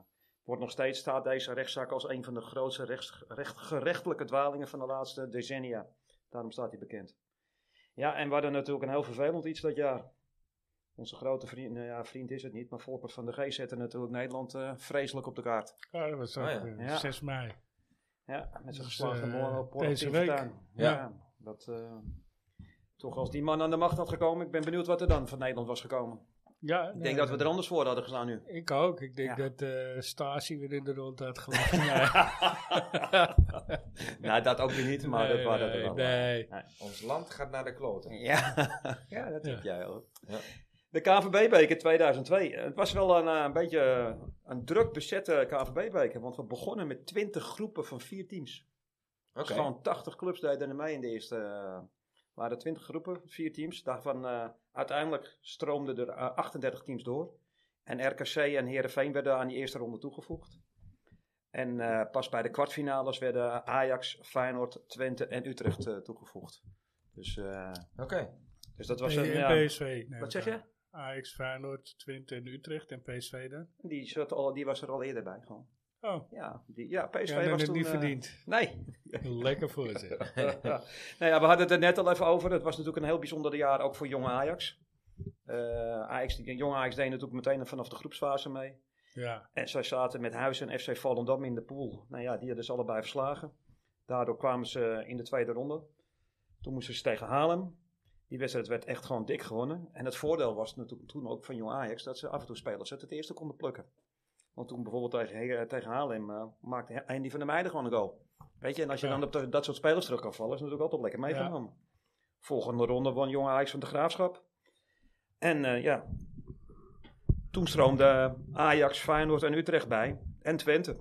S4: wordt nog steeds, staat deze rechtszaak als een van de grootste rechts, recht, gerechtelijke dwalingen van de laatste decennia. Daarom staat hij bekend. Ja, en we hadden natuurlijk een heel vervelend iets dat jaar. Onze grote vriend, nou ja, vriend is het niet, maar Volkert van de G zette natuurlijk Nederland eh, vreselijk op de kaart.
S2: Ja, dat was ook
S1: Oh ja.
S2: eh,
S4: Ja.
S2: 6 mei.
S4: Ja, met zijn
S2: Dus,
S4: geslaagde
S2: eh,
S4: moord op
S2: deze
S4: Portien
S2: week.
S4: Fortuyn.
S1: Ja.
S4: dat, eh, toch als die man aan de macht had gekomen, ik ben benieuwd wat er dan van Nederland was gekomen.
S2: Ja,
S4: Ik denk dat we er anders voor hadden gestaan nu.
S2: Ik ook. Ik denk
S4: Ja.
S2: dat eh Stasi weer in de rond
S4: [LAUGHS]
S2: had gelachen. Nee.
S4: nou, dat ook weer niet, maar dat waren er
S2: nee,
S4: wel. eh,
S2: nee.
S4: [LAUGHS]
S1: Ons land gaat naar de kloten.
S4: Ja, ja dat heb jij ook.
S1: Ja.
S4: De KVB-beker 2002. Eh, Het was wel een, eh, een beetje eh, een druk bezette KVB-beker. Want we begonnen met 20 groepen van vier teams.
S1: Oké.
S4: Dus gewoon 80 clubs deden er mee in de eerste. eh, waren 20 groepen, vier teams. Daarvan eh, uiteindelijk stroomden er eh, 38 teams door. En RKC en Herenveen werden aan die eerste ronde toegevoegd. En eh, pas bij de kwartfinales werden Ajax, Feyenoord, Twente en Utrecht eh, toegevoegd. Dus, eh,
S1: Oké.
S4: dus dat was een. ja,
S2: En PSV. neem
S4: wat
S2: ik
S4: zeg
S2: aan.
S4: je?
S2: Ajax, Feyenoord, Twente en Utrecht en PSV dan.
S4: Die, zat al, die was er al eerder bij. Gewoon.
S2: Oh,
S4: Ja, die, ja PSV
S2: PSV ja,
S4: was
S2: het
S4: toen,
S2: niet
S4: eh,
S2: verdiend.
S4: Nee,
S2: Lekker voor
S4: [LAUGHS]
S2: ze.
S4: nou ja, we hadden het er net al even over. Het was natuurlijk een heel bijzonder jaar ook voor jonge Ajax. Eh Ajax die- jonge Ajax deed natuurlijk meteen vanaf de groepsfase mee.
S2: Ja,
S4: En zij zaten met Huis en FC Volendam in de pool. Nou ja, die hadden ze allebei verslagen. Daardoor kwamen ze in de tweede ronde. Toen moesten ze tegen Haarlem. Die wedstrijd werd echt gewoon dik gewonnen. En het voordeel was natuurlijk toen ook van Jong Ajax dat ze af en toe spelers uit het eerste konden plukken. Want toen bijvoorbeeld tegen, eh, tegen Haarlem eh, maakte Andy van der Meijden gewoon een goal. Weet je, en als je
S2: Ja.
S4: dan op dat- dat soort spelers terug kan vallen, is het natuurlijk altijd lekker
S2: Ja.
S4: meegenomen. Volgende ronde won Jong Ajax van de Graafschap. En eh, ja, toen stroomde Ajax, Feyenoord en Utrecht bij. En Twente.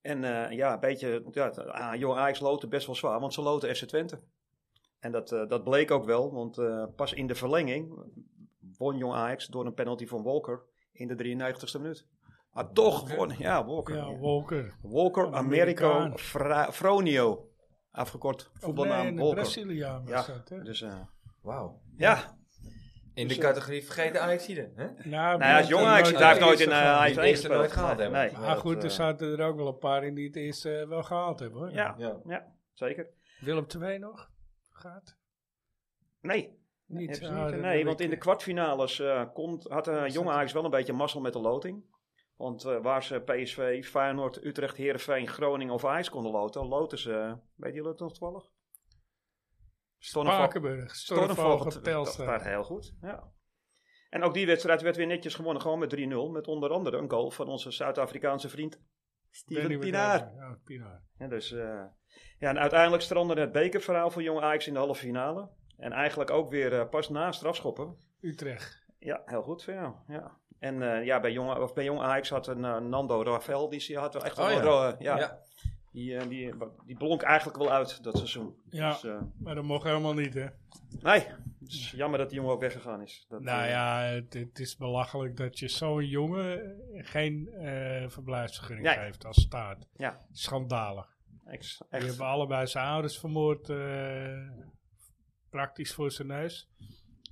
S4: En eh, ja, een beetje, ja, het- ah, jong Ajax loten best wel zwaar, want ze loten FC Twente. En dat, eh, dat bleek ook wel, want eh, pas in de verlenging won jong Ajax door een penalty van Walker in de 93ste minuut. Maar toch won, ja, Walker.
S2: ja
S4: Ja.
S2: Wolker.
S4: Walker Americo
S2: Amerikaan.
S4: Fra- Fronio, afgekort voetbalnaam
S2: nee, een
S4: Walker.
S2: Braziliaan was
S4: Ja,
S2: dat, hè?
S4: dus eh,
S1: Wauw.
S4: ja,
S1: In de categorie vergeten Ajaxiden. hè?
S2: Nou,
S4: nou ja,
S2: Brazilië
S4: jong Ajax,
S2: nooit
S4: daar heeft
S2: de
S4: nooit in
S2: eerste
S4: eh,
S2: van.
S4: Ajax
S1: Die
S4: 1
S1: eerste nooit
S4: gespeeld.
S1: gehaald hebben.
S4: Nee,
S2: Maar goed,
S4: dat,
S2: er
S4: eh,
S2: zaten er ook wel een paar in die het eerst eh, wel gehaald hebben, hoor.
S4: Ja,
S1: Ja.
S4: ja, zeker.
S2: Willem II nog? Gaat?
S4: Nee,
S2: Niet.
S4: Hebben
S2: Ah,
S4: ze niet, eh,
S2: dat
S4: nee,
S2: heb
S4: want
S2: ik-
S4: in de kwartfinales eh, komt, had eh Jong Ajax wel een beetje mazzel met de loting. Want eh, waar ze PSV, Feyenoord, Utrecht, Heerenveen, Groningen of Ajax konden loten, loten ze, eh, weet jullie het nog toevallig? Stormvogel-
S2: Spakenburg,
S4: Stormvogel
S2: Stormvogel,
S4: staat
S2: Telstra.
S4: heel goed, ja. En ook die wedstrijd werd weer netjes gewonnen, gewoon met 3-0. Met onder andere een goal van onze Zuid-Afrikaanse vriend Steven Pinaar.
S2: Ja, Pinaar.
S4: Ja, dus, eh, ja, en uiteindelijk strandde het bekerverhaal voor Jong Ajax in de halve finale. En eigenlijk ook weer eh, pas na strafschoppen.
S2: Utrecht.
S4: Ja, heel goed voor jou. Ja. En eh, ja, bij jong, of bij jong Ajax had een eh, Nando Rafael, die ze had wel echt wel
S1: Oh, ja.
S4: een ro- eh, ja.
S1: Ja.
S4: Die, eh, die, die blonk eigenlijk wel uit dat seizoen.
S2: Ja.
S4: Dus, eh,
S2: Maar dat mocht helemaal niet, hè?
S4: nee, het is jammer dat die jongen ook weggegaan is. Dat,
S2: Nou
S4: eh,
S2: ja, het, het is belachelijk dat je zo'n jongen geen eh verblijfsvergunning
S4: Nee.
S2: geeft als staat.
S4: Ja.
S2: Schandalig.
S4: ex-
S2: Die
S4: echt.
S2: hebben allebei zijn ouders vermoord, eh, praktisch voor zijn neus.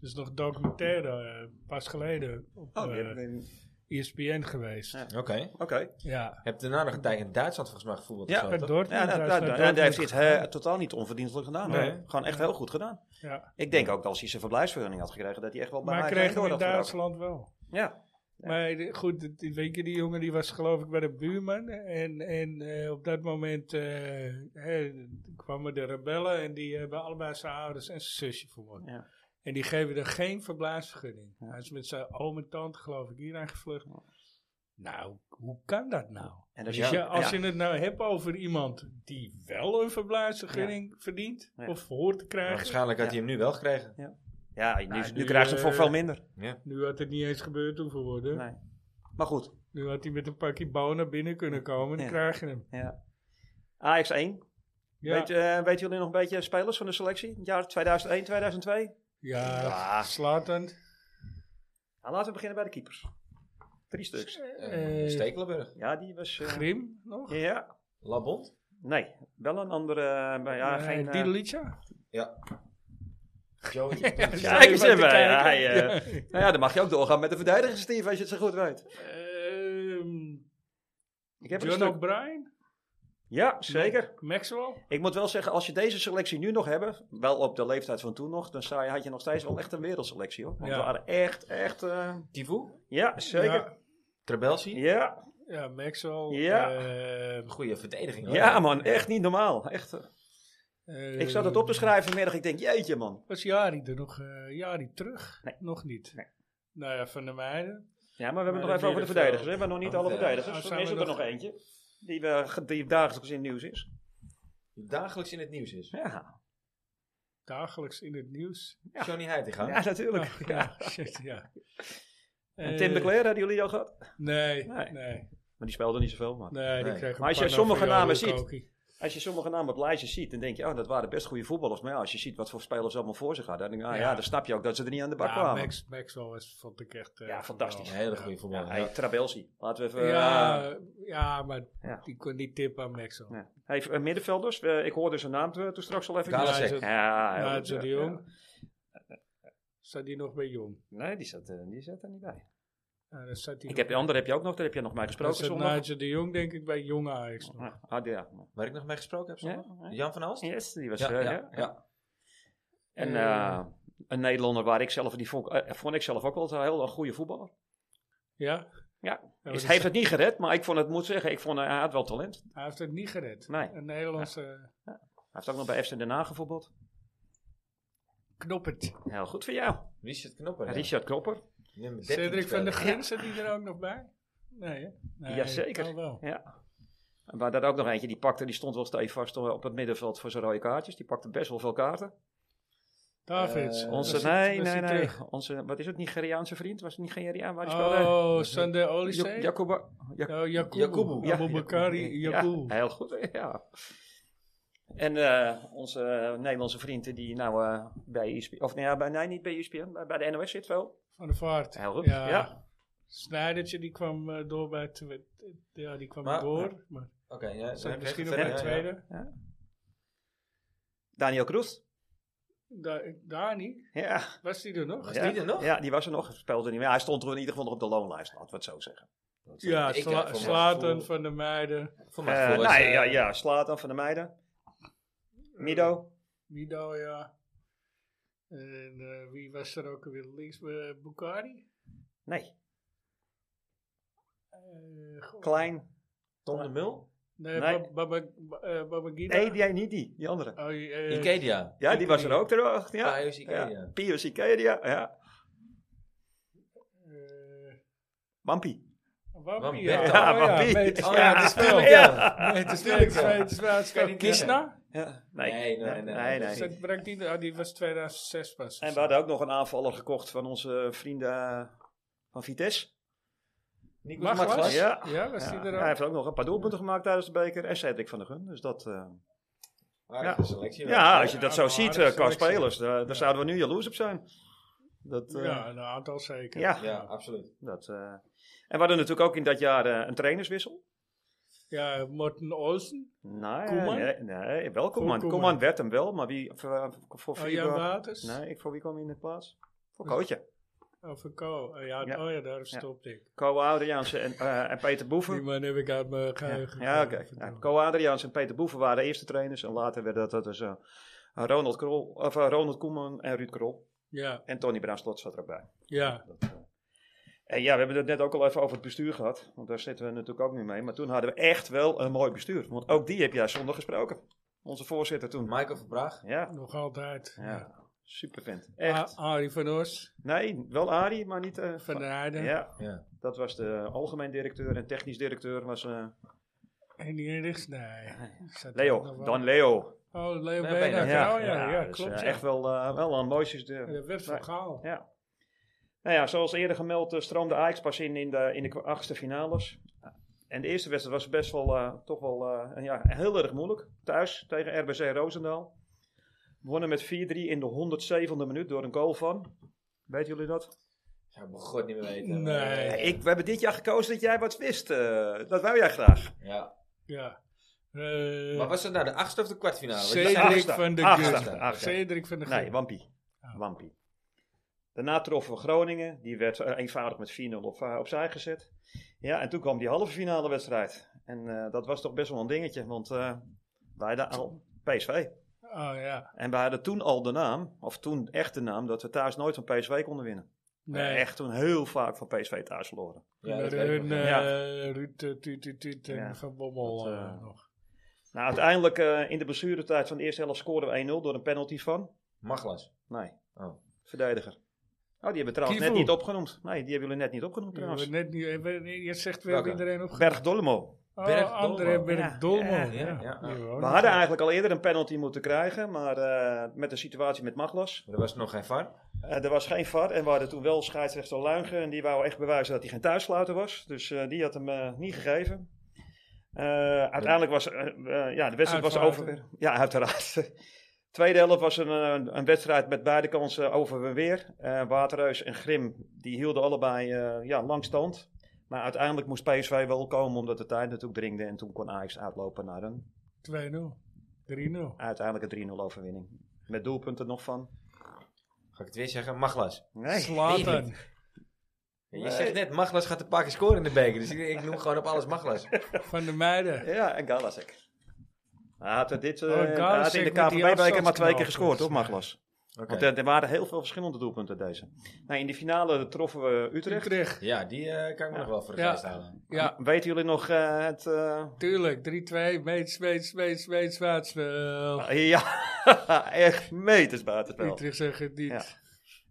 S2: Er is nog een documentaire, eh, pas geleden, op
S4: Oh, die
S2: eh,
S4: hebben we in-
S2: ESPN geweest.
S4: Ja.
S2: Ja,
S1: Oké.
S4: Oké.
S2: ja.
S1: Heb daarna nog een tijd in Duitsland volgens mij gevoeld.
S4: Ja,
S2: bij
S4: Ja,
S2: Dortmund.
S4: dat,
S2: hij is
S4: dat,
S2: naar
S4: dat-
S2: Dortmund
S4: die heeft hij het
S2: gegaan.
S4: eh, totaal niet onverdienstelijk gedaan.
S2: Nee.
S4: hoor. Gewoon echt heel goed gedaan.
S2: Ja.
S4: Ik denk ook dat als hij zijn verblijfsvergunning had gekregen, dat hij echt wel bij
S2: Maar hij
S4: Ajax
S2: kreeg
S4: door
S2: hem in
S4: had geroken.
S2: Duitsland wel.
S4: Ja, Ja.
S2: Maar de- goed, de- die- weet je, die jongen die was geloof ik bij de buurman. En, en eh, op dat moment eh, hè, kwamen de rebellen en die hebben allebei zijn ouders en zijn zusje vermoord.
S4: Ja.
S2: En die geven er geen verblijfsvergunning. Hij is met zijn oom en tante geloof ik hierheen gevlucht. Nou, hoe kan dat nou?
S4: en dat
S2: Dus
S4: is
S2: ja,
S4: ja,
S2: als je het nou hebt over iemand die wel een verblijfsvergunning verdient
S4: Ja.
S2: of hoort te
S1: Maar
S2: krijgen.
S1: waarschijnlijk had hij hem nu wel gekregen.
S4: ja, nu,
S2: Nou,
S4: nu
S2: nu,
S4: krijgt ze hem voor
S2: eh,
S4: veel minder.
S2: Nu had het niet eens gebeurd hoeven worden.
S4: Nee. Maar goed,
S2: Nu had hij met een pakje bouw naar binnen kunnen komen en dan
S4: Ja.
S2: krijg je hem.
S4: Ja. Ajax 1.
S2: Ja.
S4: Weet, eh, weten jullie nog een beetje spelers van de selectie? Het jaar 2001, 2002?
S2: Ja,
S4: Ja.
S2: Slatan.
S4: Nou, laten we beginnen bij de keepers. Drie stuks.
S1: Eh, Stekelenburg.
S4: Ja, die was... eh,
S2: Grim nog?
S4: ja,
S1: Labond.
S4: nee. Wel een andere... eh, maar ja,
S2: Eh,
S4: geen... eh,
S2: Didelitja?
S1: Ja. Joey.
S4: kijk eens even, [LAUGHS] ja, hij, eh, nou ja, dan mag je ook doorgaan met de verdedigers, Steve, als je het zo goed weet. Ik heb er een
S2: Ehm, John
S4: stuk.
S2: O'Brien?
S4: Ja, zeker.
S2: Maxwell?
S4: Ik moet wel zeggen, als je deze selectie nu nog hebben, wel op de leeftijd van toen nog, dan zou je, had je nog steeds wel echt een wereldselectie, hoor. Want
S2: Ja.
S4: we hadden echt, echt... eh,
S1: Kivu.
S4: ja, zeker.
S2: Ja,
S1: Trebelsi.
S4: ja.
S2: ja, Maxwell.
S4: Ja.
S2: eh,
S1: Goede verdediging. hoor.
S4: Ja, man, echt niet normaal. Echt. eh.
S2: eh,
S4: Ik zat het op te schrijven vanmiddag. Ik denk, jeetje, man.
S2: Was Jari er nog? eh, Jari terug?
S4: Nee.
S2: Nog niet.
S4: Nee.
S2: Nou ja, Van der Meijden.
S4: Ja,
S2: Maar
S4: maar we hebben het nog even
S2: dat
S4: over de
S2: middenveld.
S4: verdedigers. hè. We hebben nog niet
S1: Oh,
S4: alle
S1: ja.
S4: verdedigers.
S2: Oh,
S4: Er
S2: zijn
S4: is
S2: we
S4: er nog
S2: nog-
S4: eentje. Die, we, die dagelijks in het nieuws is.
S1: Die dagelijks in het nieuws is.
S4: Ja.
S2: dagelijks in het nieuws.
S1: Johnny Heitinga.
S4: Ja, natuurlijk.
S2: Ach,
S4: ja.
S2: [LAUGHS] ja, shit, ja.
S4: En Tim de
S2: Eh,
S4: Cler, hadden jullie die al gehad? Maar
S2: Nee,
S4: Nee.
S2: nee, nee.
S4: die speelde niet zoveel. Maar.
S2: die
S1: Nee.
S2: kregen
S4: Maar als je
S2: panna
S4: sommige
S2: voor jouw
S4: namen
S2: roekokie.
S4: Als je sommige namen op lijstjes ziet, dan denk je, oh, dat waren best goede voetballers. Maar ja, als je ziet wat voor spelers allemaal voor zich hadden, dan, denk je, ah, ja.
S2: Ja.
S4: dan snap je ook dat ze er niet aan de bak
S2: Ja,
S4: kwamen.
S2: Max, Maxwell was, vond ik echt... eh,
S4: Ja, fantastisch.
S1: Een
S2: geweldig.
S1: hele goede voetballer.
S4: Ja, hey, Trabelsi. Laten we even... eh,
S2: Ja, ja, maar
S4: Ja.
S2: die kon niet tippen aan Maxwell.
S4: Ja. Hey, eh, middenvelders, eh, ik hoorde zijn naam eh, toen straks al even.
S1: Gala-
S2: Ja,
S1: Galasek.
S2: zo-
S4: Ja, heel
S2: Maar
S4: goed,
S2: zo
S4: eh,
S2: de
S4: ja.
S2: Jong. Staat die nog bij Jong?
S4: Nee, die zat, eh, die zat er niet bij.
S2: Ja, dan staat die
S4: Ik
S2: nog-
S4: heb, die andere heb je ook nog, daar heb je nog mee
S2: dan
S4: gesproken
S2: staat
S4: zondag.
S2: Nigel de Jong denk ik bij jonge Ajax nog.
S4: Ah, ah, ja.
S1: Waar ik nog mee gesproken heb, zondag?
S4: Ja, ja.
S1: Jan van Alst?
S4: Yes, die was...
S1: Ja,
S4: eh,
S1: ja,
S4: ja.
S1: ja.
S4: En
S2: Eh,
S4: eh, een Nederlander waar ik zelf, die vond, eh, vond ik zelf ook wel een heel een goede voetballer.
S2: Ja?
S4: Ja.
S2: maar
S4: Is-
S2: dat-
S4: hij heeft het niet gered, maar ik vond het, moet zeggen, ik vond, eh, hij had wel talent.
S2: Hij heeft het niet gered.
S4: Nee.
S2: Een Nederlandse
S4: Hij heeft ook nog bij FC Den Haag gevoetbald.
S2: knoppert.
S4: Heel goed voor jou.
S1: Richard Knopper. ja.
S4: Richard Kropper.
S1: Nummer 13
S2: Cedric van
S1: speler.
S2: der Grins, zat die er ook nog bij? Nee, hè? nee
S4: Jazeker. Eh,
S2: wel wel.
S4: Ja. En Waar dat ook nog eentje, die pakte, die stond wel stevig vast op het middenveld voor zijn rode kaartjes. Die pakte best wel veel kaarten.
S2: Davids.
S1: Eh,
S4: Onze,
S2: Was hij-
S4: nee,
S2: was hij
S4: nee, nee.
S2: terug?
S4: Onze, wat is het, Nigeriaanse vriend? Was het Nigeriaan waar die speelde?
S2: Oh, Sander
S4: Ja,
S2: Olise. Oh,
S4: Jacoba. Ja,
S2: Ja, Jakubu.
S1: Jakubu.
S2: Jakubu.
S4: ja,
S2: Aboubakari
S4: ja,
S2: Jakubu.
S4: heel goed, ja. En eh, onze eh, Nederlandse vrienden die nou eh, bij ESPN, of nee, ja, bij, nee, niet bij ESPN, bij, bij de NOS zit wel.
S2: Van de Vaart.
S4: Heel goed,
S2: Ja.
S4: ja.
S2: Snijdertje, die kwam eh, door bij... Twe- Ja, die kwam
S1: Maar-
S2: door. Maar
S1: Oké, ja.
S2: zat
S1: ja,
S2: misschien nog
S1: verder,
S2: bij de
S1: ja, ja.
S2: tweede.
S4: Daniel Kroes.
S2: Da- Dani,
S4: Ja.
S2: was die er nog?
S1: Was die er nog?
S4: Ja, die was er nog. Speelde niet meer. Hij stond er in ieder geval nog op de loonlijst, laten we het zo zeggen.
S2: Ja,
S1: Ik,
S2: Sla-
S1: eh, voor mijn
S2: Slaten
S1: gevoel-
S2: van de Meiden.
S1: voor mijn
S4: Eh
S1: gevoel is,
S4: nee,
S1: eh,
S4: ja, ja, Slatan van de Meiden.
S2: eh,
S4: Mido.
S2: Mido, ja. En eh, wie was er ook weer links? Eh, Bukari?
S4: Nee,
S2: Eh, goh.
S4: Klein.
S1: Tom de Mul?
S2: Nee,
S4: Nee.
S2: Ba- Baba- Ba- eh, Babangida.
S4: Nee, die, niet die, die andere.
S2: Oh, eh,
S1: Ikedia.
S4: Ja, die was er ook terug. Ja,
S1: Pius Ikedia.
S4: Ja, Pius Ikedia, ja.
S2: eh,
S4: Wampi.
S2: Wampi,
S1: Ja,
S2: ja.
S4: ja,
S2: Oh, ja,
S4: Wampi.
S2: Meet-
S1: Oh ja, die speel ik
S4: Ja.
S1: ja.
S2: Nee, het is
S1: Tuurlijk,
S2: niks.
S1: ja.
S2: nee, het is wel- het is wel
S1: niet
S2: Krishna.
S4: Ja, nee.
S1: Nee, nee, nee,
S4: nee,
S1: dat
S4: nee.
S1: is
S2: Dat brengt niet- oh, die was 2006 pas.
S4: En we hadden ook nog een aanvaller gekocht van onze vrienden eh, van Vitesse.
S1: Nico
S2: Maglas?
S1: Maglas?
S4: Ja.
S2: Ja, was
S4: Ja,
S2: die er
S4: hij
S2: ook?
S4: heeft ook nog een paar doelpunten gemaakt tijdens de beker. En Cedric van der Gun. Dus dat, eh,
S1: Aardige selectie.
S4: ja,
S1: wel.
S4: als je dat
S2: ja,
S4: zo
S2: maar
S4: ziet
S2: aardige
S4: eh, qua
S2: selectie.
S4: spelers, daar, daar
S2: Ja.
S4: zouden we nu jaloers op zijn. Dat, eh,
S2: Ja, een aantal zeker.
S4: Ja.
S1: Ja, absoluut.
S4: Dat, eh, en we hadden natuurlijk ook in dat jaar eh, een trainerswissel.
S2: Ja, Morten Olsen.
S4: Nee,
S2: Koeman?
S4: nee, nee, wel Koeman.
S2: Koeman.
S4: Koeman werd hem wel, maar wie voor, eh, voor
S2: Oh,
S4: wie
S2: Jan
S4: kwam-
S2: Waters.
S4: Nee, ik- voor wie kwam hij in de plaats? Voor Kootje.
S2: Of een ko. Oh ja,
S4: Ja.
S2: oh ja, daar stopte ik.
S4: Ko Adriaanse en, eh, en Peter
S2: Die
S4: Boeven.
S2: man heb ik uit mijn
S4: Ja,
S2: geheugen.
S4: ja oké.
S2: gehaald.
S4: Nou, Ko Adriaanse en Peter Boeven waren de eerste trainers. En later werden dat, dat dus eh, Ronald, Krol, of, eh, Ronald Koeman en Ruud Krol.
S2: Ja,
S4: En Tony Braamslot zat er ook bij.
S2: ja.
S4: Dat, eh. En ja, we hebben het net ook al even over het bestuur gehad. Want daar zitten we natuurlijk ook nu mee. Maar toen hadden we echt wel een mooi bestuur. Want ook die heb jij zondag gesproken. Onze voorzitter toen.
S1: Michael van Praag.
S4: Ja,
S2: nog altijd.
S4: ja. super vent.
S2: A-
S4: Echt.
S2: Arie van Os,
S4: Nee, wel Arie, maar niet... eh,
S2: van der Heijden.
S4: ja,
S1: Ja.
S4: dat was de algemeen directeur en technisch directeur was eh,
S2: En die Erichs, nee. Die zat ook nog
S4: Leo.
S2: wel.
S4: Dan Leo.
S2: Oh, Leo
S1: Ja,
S2: Beenhakker.
S1: Beenhakker.
S2: Oh ja, ja,
S4: dus,
S2: klopt.
S4: eh,
S2: ja.
S4: Echt wel, eh, wel een mooi systeem.
S2: Ja, dat werd van Gaal.
S4: Ja. Nou ja, zoals eerder gemeld eh, stroomde Ajax pas in in de, in de achtste finales. En de eerste wedstrijd was best wel, eh, toch wel eh, ja, heel erg moeilijk. Thuis tegen RBC Roosendaal. Wonnen met 4-3 in de 107e minuut door een goal van. Weet jullie dat?
S1: Zou ik mijn god niet meer weten.
S2: Nee.
S1: Eh,
S4: we hebben dit jaar gekozen dat jij wat wist. Eh, dat wou jij graag.
S1: Ja.
S2: Ja. Eh,
S1: Maar was het nou de achtste of de kwartfinale? Want die
S2: Cedric
S1: zijn- dus-
S4: achtste,
S2: van de
S4: achtste,
S2: Gucht.
S4: achtste.
S2: Cedric van de
S4: Nee,
S2: Gucht.
S4: Wampie.
S2: Oh.
S4: Wampie. Daarna troffen we Groningen. Die werd eh, eenvoudig met 4-0 op, eh, opzij gezet. Ja, en toen kwam die halve finale wedstrijd. En eh, dat was toch best wel een dingetje. Want eh wij hadden al PSV.
S2: Oh ja.
S4: En we hadden toen al de naam, of toen echt de naam, dat we thuis nooit van PSV konden winnen. We
S2: Nee.
S4: Echt toen heel vaak van PSV thuis verloren.
S1: Ja, dat
S2: Met
S1: weet ik
S2: hun
S1: nog.
S2: eh,
S4: Ja.
S2: Ruud eh, Tuut Tuut Tuut en
S4: Ja.
S2: Van Bommel
S4: Dat, eh,
S2: eh, nog.
S4: Nou, uiteindelijk eh, in de blessuretijd van de eerste helft scoorden we 1-0 door een penalty van.
S1: Maglas.
S4: Nee,
S1: Oh.
S4: verdediger. Oh, die hebben we trouwens net
S2: Kivu.
S4: niet opgenoemd. Nee, die hebben jullie net niet opgenoemd
S2: Die hebben
S4: trouwens.
S2: we net niet, hebben we- je zegt wel
S1: Welke?
S2: iedereen op.
S4: Berg Dolmo.
S2: Oh,
S1: Berg
S2: André
S1: Dolman.
S4: Ja,
S2: Berg Dolman.
S4: ja,
S2: Ja,
S1: ja, ja.
S2: Die hebben
S4: We
S2: ook
S4: hadden
S2: niet.
S4: eigenlijk al eerder een penalty moeten krijgen, maar eh, met de situatie met Maglas.
S1: Maar er was nog geen VAR.
S4: eh, er was geen VAR en we hadden toen wel scheidsrechter Luigen. En die wou echt bewijzen dat hij geen thuissluiter was. Dus eh, die had hem eh, niet gegeven. Eh, uiteindelijk was eh, eh, ja, de wedstrijd was
S2: Uitfluiten.
S4: over. Ja, uiteraard. [LAUGHS] Tweede helft was een, eh, een wedstrijd met beide kansen over en weer. Eh, Waterreus en Grim die hielden allebei eh, ja, lang stand. Maar uiteindelijk moest PSV wel komen omdat de tijd natuurlijk dringde. En toen kon Ajax uitlopen naar een
S2: 2-0. 3-0.
S4: uiteindelijk een 3-0 overwinning. Met doelpunten nog van.
S1: Ga ik het weer zeggen? Maglas.
S4: Nee.
S2: Slaatan.
S1: Je zegt net, Maglas gaat een paar keer scoren in de beker. Dus ik, ik noem gewoon op alles Maglas.
S2: Van de meiden.
S4: Ja, en Galasek. Hij had, dit, eh,
S2: Oh,
S4: hij had
S2: Galasek
S4: in de
S2: met die dus.
S4: KVB-beker maar twee
S2: afstandsknal,
S4: keer gescoord, hoor,
S2: volgens mij.
S4: Maglas.
S1: Oké.
S4: Want eh, er waren heel veel verschillende doelpunten deze. Nou, in de finale troffen we Utrecht.
S2: Utrecht.
S1: Ja, die eh, kan ik me nog wel voor de
S2: Ja.
S1: geest halen.
S2: Ja,
S4: Weten jullie nog eh, het... eh, [LAUGHS]
S2: tuurlijk. 3-2. Meets, meets, meets, meets, waats.
S4: ja, echt meters buitenspel.
S2: Utrecht zegt het niet.
S4: Ja.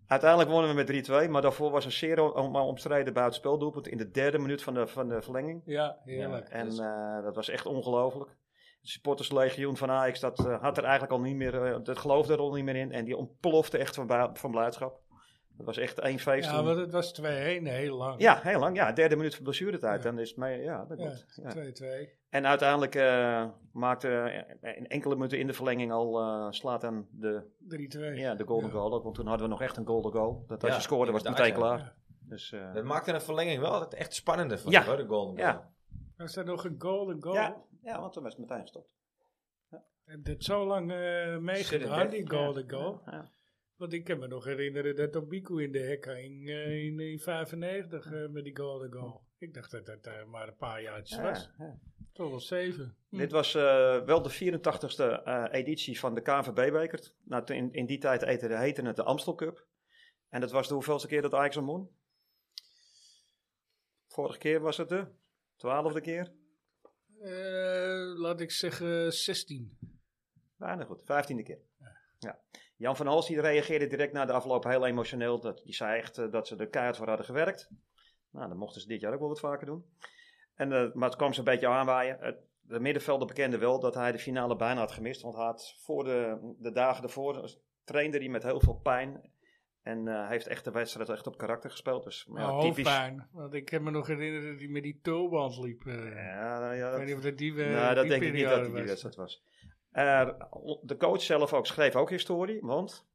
S4: Uiteindelijk wonnen we met 3-2, maar daarvoor was een zeer on- maar omstreden buitenspeldoelpunt in de derde minuut van de, van de verlenging.
S2: Ja, heerlijk.
S4: En
S1: Dus-
S4: eh, dat was echt ongelooflijk. Het supporterslegioen van Ajax, dat eh, had er eigenlijk al niet meer, eh, dat geloofde er al niet meer in. En die ontplofte echt van, bui- van blijdschap. Dat was echt één feest.
S2: Ja,
S4: toen.
S2: want het was 2-1 heel lang.
S4: ja, heel lang. Ja, derde minuut van blessuretijd.
S2: Ja.
S4: Dan is het mee, ja, dat
S2: Ja,
S4: klopt. Ja.
S2: 2-2.
S4: En uiteindelijk eh, maakte eh, in enkele minuten in de verlenging al eh, slaat aan de,
S2: 3-2.
S4: ja, de golden goal. Ook, want toen hadden we nog echt een golden goal. Dat als
S1: Ja,
S4: je scoorde was het meteen
S1: inderdaad,
S4: klaar.
S2: ja.
S4: Dus, eh,
S1: Dat maakte een verlenging wel het echt spannender van
S4: Ja.
S1: hoor, de Golden
S4: Ja.
S1: Goal.
S2: Was er nog een golden goal?
S4: ja, ja, want toen was het meteen gestopt.
S2: Heb dit zo lang eh meegedaan, die golden goal?
S4: Ja, ja.
S2: Want ik kan me nog herinneren dat Obiku in de hek hing eh, in, in 95 eh, met die golden goal. Ik dacht dat dat eh, maar een paar jaartjes
S4: Ja,
S2: was.
S4: ja.
S2: Toch wel zeven. Hm.
S4: Dit was eh, wel de 84 e editie van de KNVB-beker. Nou, toen- in, in die tijd heette, heette het de Amstel Cup. En dat was de hoeveelste keer dat Ajax hem won? Vorige keer was het de twaalfde keer.
S2: Eh, laat ik zeggen 16.
S4: Bijna goed, vijftiende keer. Ja. Jan van Hals die reageerde direct na de afloop heel emotioneel. Dat, die zei echt eh, dat ze er keihard voor hadden gewerkt. Nou, dan mochten ze dit jaar ook wel wat vaker doen. En, eh, maar het kwam ze een beetje aanwaaien. Het, de middenvelder bekende wel dat hij de finale bijna had gemist. Want hij had voor de, de dagen ervoor eh, trainde hij met heel veel pijn. En eh, hij heeft echt de wedstrijd echt op karakter gespeeld. Dus maar
S2: Maar
S4: ja, typisch.
S2: hoofdpijn. Want ik kan me nog herinneren dat hij met die tulband liep. eh.
S4: Ja, nou ja,
S2: Ik
S4: dat-
S2: weet niet of dat die, eh,
S4: nou, dat
S2: die
S4: denk ik niet dat
S2: periode
S4: het die
S2: was.
S4: wedstrijd was. Eh, de coach zelf ook schreef ook historie, want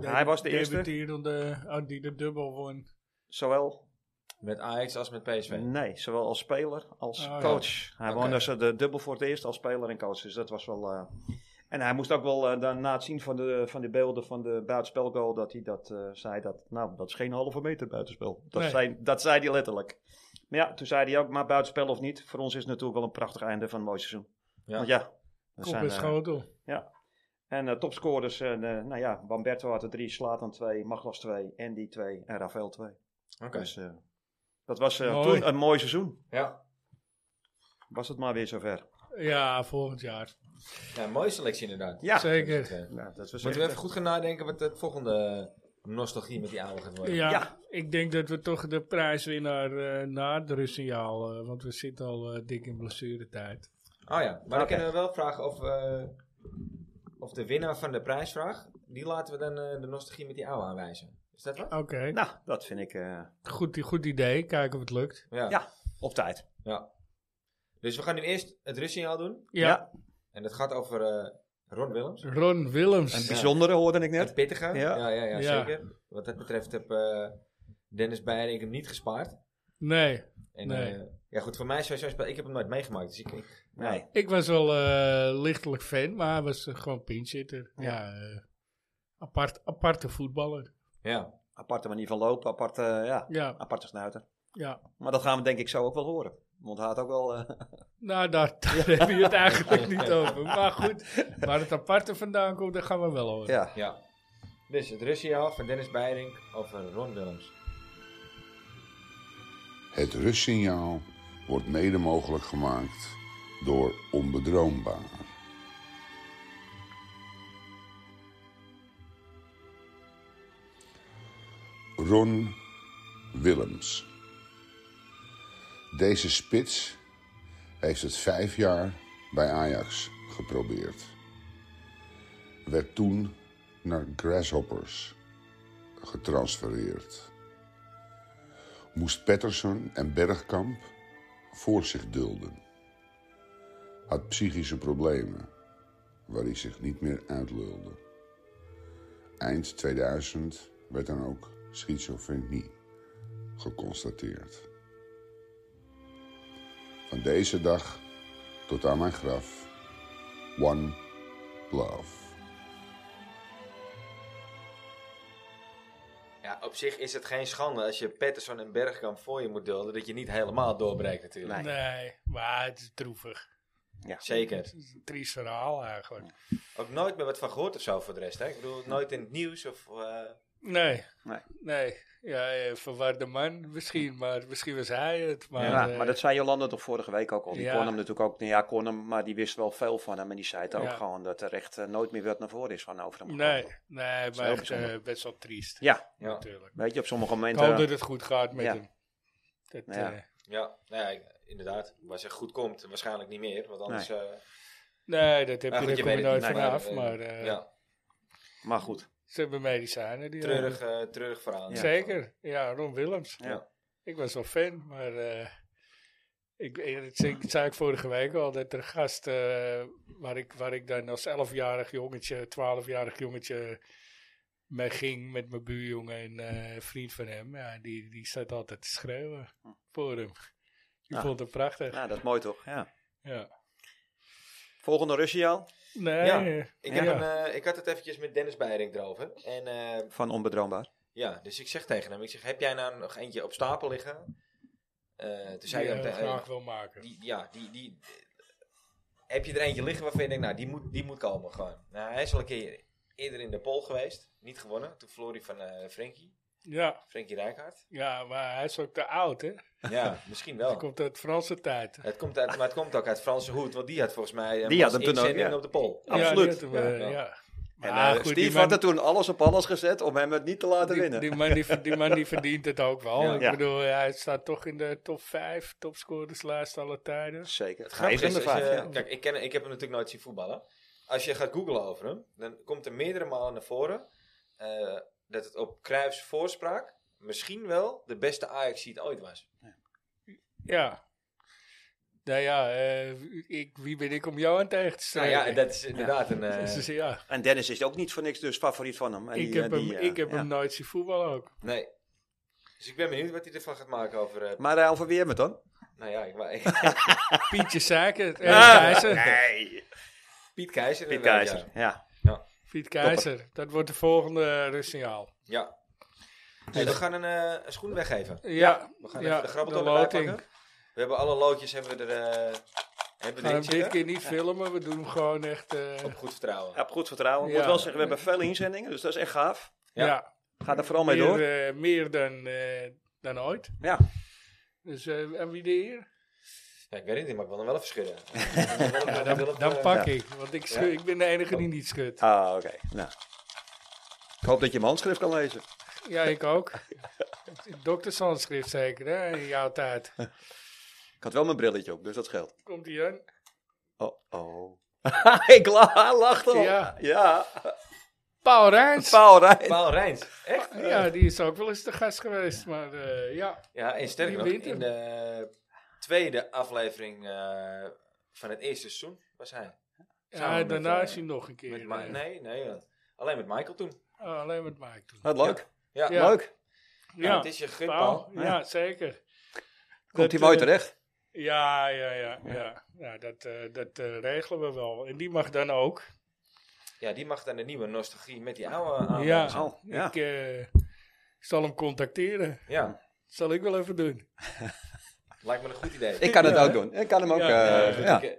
S4: Hij was de eerste.
S2: debuteerde onder- oh, die de dubbel won.
S4: zowel,
S1: Met Ajax als met PSV.
S4: nee, zowel als speler als
S2: Oh, ja.
S4: coach. Hij
S1: Oké.
S4: won dus de dubbel voor het eerst als speler en coach, dus dat was wel... eh, en hij moest ook wel eh, dan na het zien van de, van de beelden van de buitenspelgoal, dat hij dat eh, zei, dat, nou, dat is geen halve meter buitenspel. Dat,
S2: Nee.
S4: zei, dat zei hij letterlijk. Maar ja, toen zei hij ook, maar buitenspel of niet, voor ons is het natuurlijk wel een prachtig einde van een mooi seizoen.
S1: Ja.
S4: Want ja, we
S2: Kop en
S4: eh,
S2: schotel.
S4: En eh, topscorers, eh, eh, nou ja, Bamberto had er drie, Slatan twee, Maglas twee, Andy twee en Rafael twee.
S1: Oké.
S4: Dus eh, dat was eh,
S2: Mooi.
S4: toen een mooi seizoen.
S1: Ja.
S4: Was het maar weer zover.
S2: Ja, volgend jaar.
S1: ja, mooie selectie inderdaad.
S4: Ja,
S2: Zeker.
S1: Ja.
S4: Ja, dat was
S1: Moeten
S4: echt,
S1: we even goed gaan nadenken wat het volgende eh, nostalgie met die oude gaat worden.
S2: Ja,
S4: Ja.
S2: ik denk dat we toch de prijswinnaar eh, na het rustsignaal, eh, want we zitten al eh, dik in blessuretijd.
S1: Oh ja, maar dan
S4: Oké.
S1: kunnen we wel vragen of, eh, of de winnaar van de prijsvraag, die laten we dan eh, de nostalgie met die oude aanwijzen. Is dat wat?
S2: Oké,
S4: eh, Nou, dat vind ik eh,
S2: goed, goed idee. Kijken of het lukt.
S1: Ja.
S4: Ja. op tijd.
S1: Ja. Dus we gaan nu eerst het rustsignaal doen.
S2: Ja,
S4: Ja.
S1: En dat gaat over eh Ron Willems.
S2: Ron Willems.
S4: Een bijzondere hoorde ik net.
S1: Het pittige.
S4: Ja.
S1: Ja. Ja, ja,
S2: Ja.
S1: zeker. Wat dat betreft heb eh, Dennis Beiring hem niet gespaard.
S2: Nee,
S1: En,
S2: Nee.
S1: eh, ja goed, voor mij is sowieso een spel- Ik heb hem nooit meegemaakt, dus ik... ik-
S4: Nee.
S2: ik was wel eh, lichtelijk fan, maar hij was eh, gewoon pinchitter. Ja, eh, apart, aparte voetballer.
S1: Ja.
S4: Aparte manier van lopen, aparte, eh, ja,
S2: Ja,
S4: aparte snuiter.
S2: ja.
S4: Maar dat gaan we denk ik zo ook wel horen. Want hij had ook wel... eh, [LAUGHS]
S2: Nou, daar, [LAUGHS] daar heb je het eigenlijk niet over. Maar goed, waar het aparte vandaan komt, daar gaan we wel over.
S4: ja.
S1: ja. Dus het rustsignaal van Dennis Beiring over Ron Willems.
S6: Het rustsignaal wordt mede mogelijk gemaakt door onbedroombaar. Ron Willems. Deze spits heeft het vijf jaar bij Ajax geprobeerd. Werd toen naar Grasshoppers getransfereerd. Moest Patterson en Bergkamp voor zich dulden. Had psychische problemen waar hij zich niet meer uitlulde. Eind 2000 werd dan ook schizofrenie geconstateerd. Van deze dag tot aan mijn graf, One Love.
S1: Ja, op zich is het geen schande als je Patterson en Bergkamp voor je moet dulden, dat je niet helemaal doorbreekt natuurlijk.
S4: Nee.
S2: Nee, maar het is droevig.
S1: Zeker.
S2: Het is een triest verhaal eigenlijk.
S1: Ook nooit meer wat van gehoord of zo voor de rest. Hè? Ik bedoel, nooit in het nieuws of... eh,
S2: Nee.
S4: Nee.
S2: Nee. Ja, eh, verwarde man misschien, maar misschien was hij het. Maar,
S4: Ja,
S2: eh,
S4: maar dat zei Jolanda toch vorige week ook al. Die
S2: ja.
S4: kon hem natuurlijk ook, nou ja, kon hem, maar die wist wel veel van hem. En die zei het ook
S2: Ja.
S4: gewoon dat er echt eh, nooit meer wat naar voren is van over hem.
S2: Nee,
S4: gekomen.
S2: nee
S4: heel
S2: maar echt
S4: bijzonder.
S2: eh, best wel triest
S4: Ja,
S1: ja.
S2: natuurlijk.
S4: weet je, op sommige
S2: Ik
S4: momenten.
S2: hoop dat het goed gaat met
S4: Ja.
S2: hem. Dat,
S4: Ja.
S2: eh,
S1: Ja, nou ja, inderdaad. Waar ze goed komt, waarschijnlijk niet meer. Want anders. eh,
S2: nee, dat heb
S1: nou
S2: je,
S1: goed,
S2: daar
S1: je
S2: kom
S1: weet
S2: je
S1: het
S2: nooit
S1: niet,
S2: vanaf.
S1: eh,
S2: Maar eh,
S1: ja,
S4: Maar goed,
S2: ze hebben medicijnen. Die
S1: treurig, eh, treurig verhaal.
S4: Ja.
S2: Zeker, ja, Ron Willems.
S4: Ja.
S2: Ik was wel fan, maar eh, ik, eh, dat zei, dat zei ik vorige week al, dat er gast eh, waar, ik, waar ik dan als 11-jarig jongetje, 12-jarig jongetje mee ging met mijn buurjongen en eh, een vriend van hem, ja, die, die zat altijd te schreeuwen voor hem. Ik
S4: Ah.
S2: vond het prachtig.
S4: ja, dat is mooi toch? Ja.
S2: Ja.
S4: Volgende Russie al
S2: Nee,
S1: Ja,
S2: eh,
S1: Ik,
S2: ja.
S1: heb een, eh, ik had het eventjes met Dennis Beiring erover. En eh,
S4: van Onbedroombaar.
S1: ja, dus ik zeg tegen hem: ik zeg, Heb jij nou nog eentje op stapel liggen? Eh, toen zei
S2: die
S1: hij hem
S2: ik
S1: te-
S2: graag wil maken.
S1: die, ja, die, die, heb je er eentje liggen waarvan je denkt, nou, die moet, die moet komen gewoon. Nou, hij is al een keer eerder in de pol geweest. Niet gewonnen. Toen verloor hij van eh Frenkie.
S2: Ja,
S1: Frenkie Rijkaard.
S2: ja, maar hij is ook te oud, hè?
S1: Ja, [LAUGHS] misschien
S2: Hij
S1: wel.
S2: komt uit Franse tijd.
S1: Het komt uit, maar het komt ook uit Franse Hoed, want die had volgens mij eh, een
S4: Die had hem toen ook,
S1: inzending
S4: ja.
S1: op de pol.
S4: Absoluut.
S2: Ja, die hadden we,
S1: Ja.
S2: ja.
S4: En
S2: Maar
S4: eh,
S2: goed,
S4: Steve
S2: die
S4: had
S2: man-
S4: er toen alles op alles gezet om hem het niet te laten
S2: Die,
S4: winnen.
S2: die, man, die, ver- die man die verdient het ook wel.
S1: Ja.
S2: Ik
S4: Ja.
S2: bedoel, hij staat toch in de top 5 topscorerslijst alle tijden.
S4: Zeker.
S1: Het
S4: Hij is
S1: grappige
S4: eh,
S1: is,
S4: in de
S1: als
S4: vijf,
S2: eh,
S1: je-
S4: ja.
S1: kijk, ik, ken, ik heb hem natuurlijk nooit zien voetballen. Als je gaat googlen over hem, dan komt er meerdere malen naar voren eh, dat het op Cruijffs voorspraak misschien wel de beste ajax die ooit was.
S2: Ja. Nou ja, eh, ik, wie ben ik om jou aan tegen te
S1: Nou
S2: strijden?
S1: ja, dat is inderdaad een... eh,
S2: [LAUGHS] Dus ja,
S4: En Dennis is ook niet voor niks dus favoriet van hem. En
S2: ik
S4: die,
S2: heb,
S4: eh,
S2: hem,
S4: die, eh,
S2: ik heb
S4: ja.
S2: hem nooit zien voetballen ook.
S1: nee. Dus ik ben benieuwd wat hij ervan gaat maken over... eh,
S4: Maar eh, over wie hebben we het dan?
S1: nou ja, ik, wou-
S2: Pietje Seiker, eh, Keizer.
S4: Ah! Nee.
S1: [LAUGHS] Piet Keizer. eh,
S4: Piet
S1: inderdaad,
S4: Keizer, ja.
S2: Piet Keizer, dat wordt de volgende rustsignaal.
S1: Ja. ja. Hey, we gaan een, eh, een schoen weggeven.
S2: Ja,
S1: We gaan
S2: ja,
S1: even de grabbelton
S2: de
S1: erbij
S2: loting.
S1: pakken. We hebben alle loodjes hebben we er... eh, hebben
S2: We gaan
S1: we
S2: hem
S1: erin
S2: dit
S1: zitten.
S2: keer niet filmen, we doen hem gewoon echt... eh,
S1: Op goed vertrouwen.
S4: Ja, op goed vertrouwen. Ik moet
S2: Ja.
S4: wel zeggen, we hebben veel inzendingen, dus dat is echt gaaf.
S1: Ja.
S2: ja,
S4: Ga er vooral mee
S2: meer,
S4: door.
S2: eh, meer dan, eh, dan ooit.
S4: Ja.
S2: Dus, eh, en wie de eer?
S1: Ja, ik weet het niet, maar ik wil hem wel even [LAUGHS] schudden. Ik wil hem- ik wil hem,
S2: Dan
S1: eh,
S2: pak ik, want ik, schu-
S1: Ja.
S2: ik ben de enige die niet schudt.
S4: Ah, oké. Nou. Ik hoop dat je mijn handschrift kan lezen.
S2: Ja, ik ook. Doktershandschrift zeker, hè, in jouw tijd.
S4: Ik had wel mijn brilletje op, dus dat scheelt.
S2: Komt die aan?
S4: Oh, oh. [LAUGHS] ik la lacht al.
S2: Ja.
S4: ja.
S2: Paul Rijns.
S4: Paul Rijn.
S1: Paul Rijns. Echt?
S2: Ja, die is ook wel eens de gast geweest, maar eh, ja.
S1: Ja, en sterker
S2: Die
S1: nog,
S2: wint hem.
S1: in de tweede aflevering eh, van het eerste seizoen was hij. Samen
S2: ja
S1: met,
S2: daarna
S1: eh,
S2: is hij nog een keer.
S1: Met Ma-
S2: eh,
S1: nee, nee. ja. Alleen met Michael toen.
S2: oh, alleen met Mike toen.
S4: Wat leuk.
S1: Ja,
S2: Ja.
S4: Leuk.
S1: Ja,
S2: Ja,
S1: het is je gun,
S2: Paul,
S1: Paul.
S2: ja, zeker.
S4: Komt
S2: Dat,
S4: hij mooi
S2: eh,
S4: terecht.
S2: Ja, ja, ja. ja. ja dat eh, dat eh, regelen we wel. En die mag dan ook.
S1: Ja, die mag dan de nieuwe nostalgie met die oude aan.
S2: Ja,
S4: Oh, ja.
S2: ik eh, zal hem contacteren.
S1: Ja,
S2: Zal ik wel even doen.
S1: lijkt me een goed idee.
S4: Ik kan het
S2: Ja,
S4: ook doen. Ik kan hem ook.
S2: Ja, ja,
S4: Ja, ja.
S1: Ik, eh,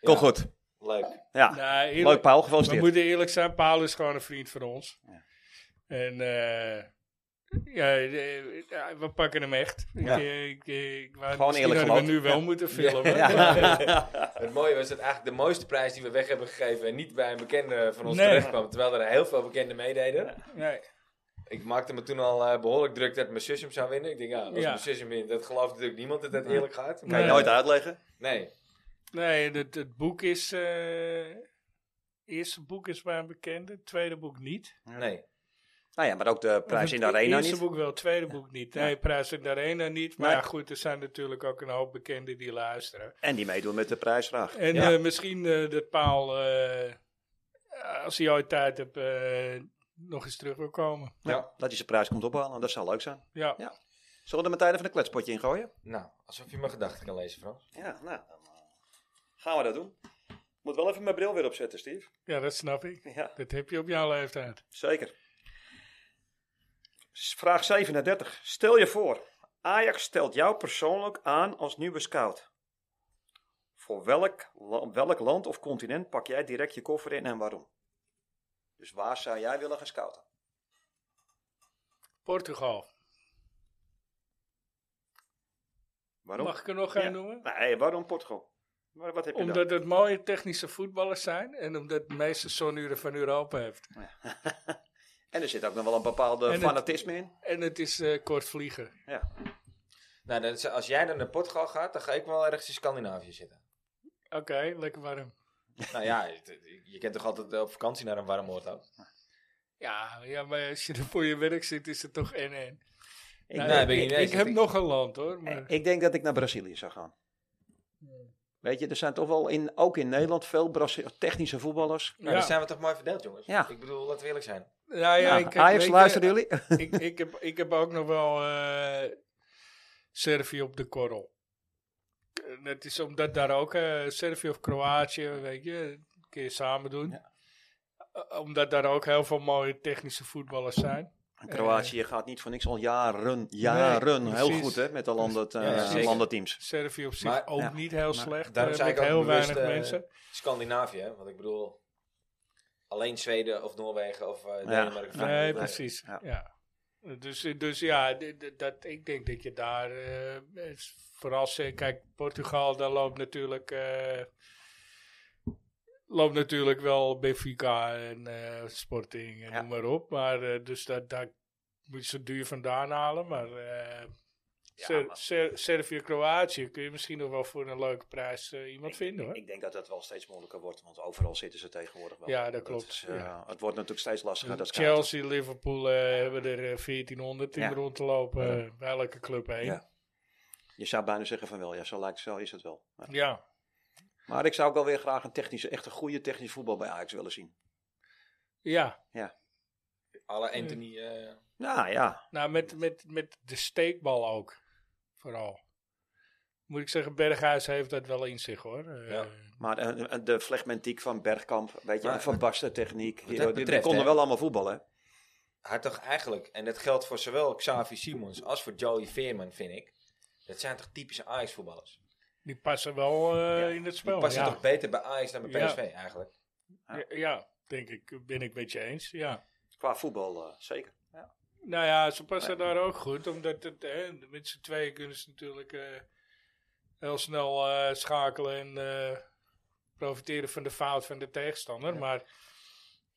S4: Kom
S1: ja,
S4: goed.
S1: Leuk.
S4: Ja.
S2: Nou, eerlijk-
S4: Leuk, Paul.
S2: We
S4: Gefeliciteerd.
S2: moeten eerlijk zijn, Paul is gewoon een vriend van ons. En eh, ja, eh, ja, we pakken hem echt.
S4: Ja.
S2: Ik, ik, ik, wou-
S4: Gewoon
S2: misschien
S4: eerlijk
S2: hadden
S4: geloofd.
S2: we nu wel moeten filmen.
S1: Het mooie was dat eigenlijk de mooiste prijs die we weg hebben gegeven niet bij een bekende van ons
S2: Nee.
S4: [LAUGHS]
S1: terecht kwam. Terwijl er heel veel bekenden meededen.
S2: [LAUGHS] Nee.
S1: Ik maakte me toen al eh, behoorlijk druk dat mijn zus hem zou winnen. Ik denk, ja, als
S2: Ja.
S1: mijn zus hem wint, dat gelooft natuurlijk niemand dat dat eerlijk gaat.
S4: Kan je
S2: Nee.
S4: nooit uitleggen.
S1: Nee.
S2: Nee, het, het boek is. eh eerste boek is maar bekend, het tweede boek niet.
S1: Nee.
S4: Nou ja, maar ook de prijs in de arena
S2: eerste
S4: niet.
S2: boek wel, het tweede boek niet. Nee, prijs in de arena niet. Maar
S4: Nee.
S2: ja, goed, er zijn natuurlijk ook een hoop bekenden die luisteren.
S4: En die meedoen met de prijsvraag.
S2: En
S1: Ja.
S2: eh, misschien eh, dat Paul, eh, als hij ooit tijd hebt, eh, nog eens terug wil komen.
S4: Ja. Dat hij zijn prijs komt ophalen, dat zou leuk zijn.
S2: Ja.
S4: Ja. Zullen we er meteen even een kletspotje in gooien?
S1: Nou, alsof je mijn gedachten kan lezen, Frans.
S4: Ja, nou, dan eh, gaan we dat doen. Moet wel even mijn bril weer opzetten, Steve.
S2: ja, dat snap ik.
S4: Ja,
S2: Dat heb je op jouw leeftijd.
S4: zeker. S- Vraag 37. Stel je voor, Ajax stelt jou persoonlijk aan als nieuwe scout. Voor welk, la- welk land of continent pak jij direct je koffer in en waarom? Dus waar zou jij willen gaan scouten?
S2: Portugal.
S4: Waarom?
S2: Mag ik er nog gaan
S4: Ja.
S2: noemen?
S4: Nee, waarom Portugal? Wa- Wat heb je dan?
S2: Omdat het mooie technische voetballers zijn en omdat het de meeste zonuren van Europa heeft.
S4: En er zit ook nog wel een bepaalde
S2: En het-
S4: fanatisme in.
S2: En het is eh, kort vliegen.
S4: Ja.
S1: Nou, dan, is- als jij dan naar Portugal gaat, dan ga ik wel ergens in Scandinavië
S4: [LAUGHS]
S1: zitten.
S2: Oké, lekker warm.
S1: nou ja, je, je kent toch altijd eh, op vakantie naar een warm oord ook?
S2: Ja, ja, maar als je er voor je werk zit, is het toch en en.
S4: Ik,
S2: Nou,
S1: nee,
S2: ik,
S1: ben je
S2: ik-
S1: niet
S2: ik
S1: eens.
S2: heb
S1: Ik-
S2: nog een land hoor. Maar,
S4: Eh, ik denk dat ik naar Brazilië zou gaan. Weet je, er zijn toch wel in, ook in Nederland veel Brazi- technische voetballers.
S1: Nou, dan
S2: ja,
S1: zijn we toch mooi verdeeld, jongens?
S4: Ja.
S1: Ik bedoel, laten we eerlijk zijn.
S2: ja, ja,
S4: Nou,
S2: ik-
S4: Ajax,
S2: weet je, eh,
S4: luisteren jullie?
S2: Ik, ik, heb, ik heb ook nog wel eh Servië op de korrel. Eh, Dat is omdat daar ook eh Servië of Kroatië, weet je, kun je samen doen. Eh, omdat daar ook heel veel mooie technische voetballers zijn.
S4: [LAUGHS] Kroatië gaat niet voor niks al jaren, jaren
S2: eh, Nee,
S4: heel
S2: precies.
S4: goed hè, met de landen, eh,
S1: Ja, ja, zeker.
S4: landenteams.
S2: Servië op zich
S1: Maar-
S2: ook
S4: ja,
S2: niet heel
S4: maar
S2: slecht.
S1: daarom
S2: eh,
S1: zei
S2: met
S1: ik ook
S2: heel
S1: bewust,
S2: weinig
S1: eh,
S2: mensen.
S1: Scandinavië, hè? want ik bedoel, alleen Zweden of Noorwegen of eh, Denemarken. Frankrijk.
S2: Nee, precies.
S4: Nou, ja.
S2: Ja. Dus, dus ja, d- d- dat, ik denk dat je daar eh, is- vooral ze- kijk, Portugal, daar loopt natuurlijk, eh, loopt natuurlijk wel Benfica en eh, Sporting en
S4: Ja.
S2: noem maar op. Maar eh, dus dat, daar moet je zo duur vandaan halen. Maar, eh, Ser-
S4: maar-
S2: Ser- Servië, Kroatië kun je misschien nog wel voor een leuke prijs eh, iemand vinden hoor.
S4: Ik denk dat dat wel steeds moeilijker wordt, want overal zitten ze tegenwoordig wel.
S2: Ja, dat klopt,
S4: is, eh,
S2: ja.
S4: Het wordt natuurlijk steeds lastiger. Dat scouten.
S2: Chelsea, Liverpool eh, hebben er eh, 1400 in
S4: Ja.
S2: rond te lopen. eh, bij elke club heen.
S4: Ja. Je zou bijna zeggen van wel, ja, zo, lijkt, zo is het wel. Ja.
S2: Ja,
S4: Maar ik zou ook wel weer graag een technische, echt een goede technisch voetbal bij Ajax willen zien.
S2: ja.
S1: Alle Anthony. eh,
S4: Nou ja,
S2: Nou, met, met, met de steekbal ook. Vooral. Moet ik zeggen, Berghuis heeft dat wel in zich hoor. Eh,
S1: Ja.
S4: maar eh, eh, de flegmentiek van Bergkamp, weet je,
S1: Maar-
S4: en van Basten techniek. Die,
S1: dat
S4: die- die
S1: betreft,
S4: konden
S1: hè?
S4: wel allemaal voetballen. hè?
S1: had toch eigenlijk, en dat geldt voor zowel Xavi Simons als voor Joey Veerman, vind ik. Dat zijn toch typische Ajax-voetballers?
S2: Die passen wel eh, in het
S1: Die
S2: spel.
S1: passen
S2: ja.
S1: toch beter bij Ajax dan bij
S2: Ja.
S1: PSV eigenlijk?
S2: Ja, ja, denk ik. Ben ik met je eens. Ja.
S4: Qua voetbal eh, zeker.
S2: Nou ja, ze passen daar ook goed. Omdat het, hè, met z'n tweeën kunnen ze natuurlijk eh, heel snel eh, schakelen en eh, profiteren van de fout van de tegenstander. Maar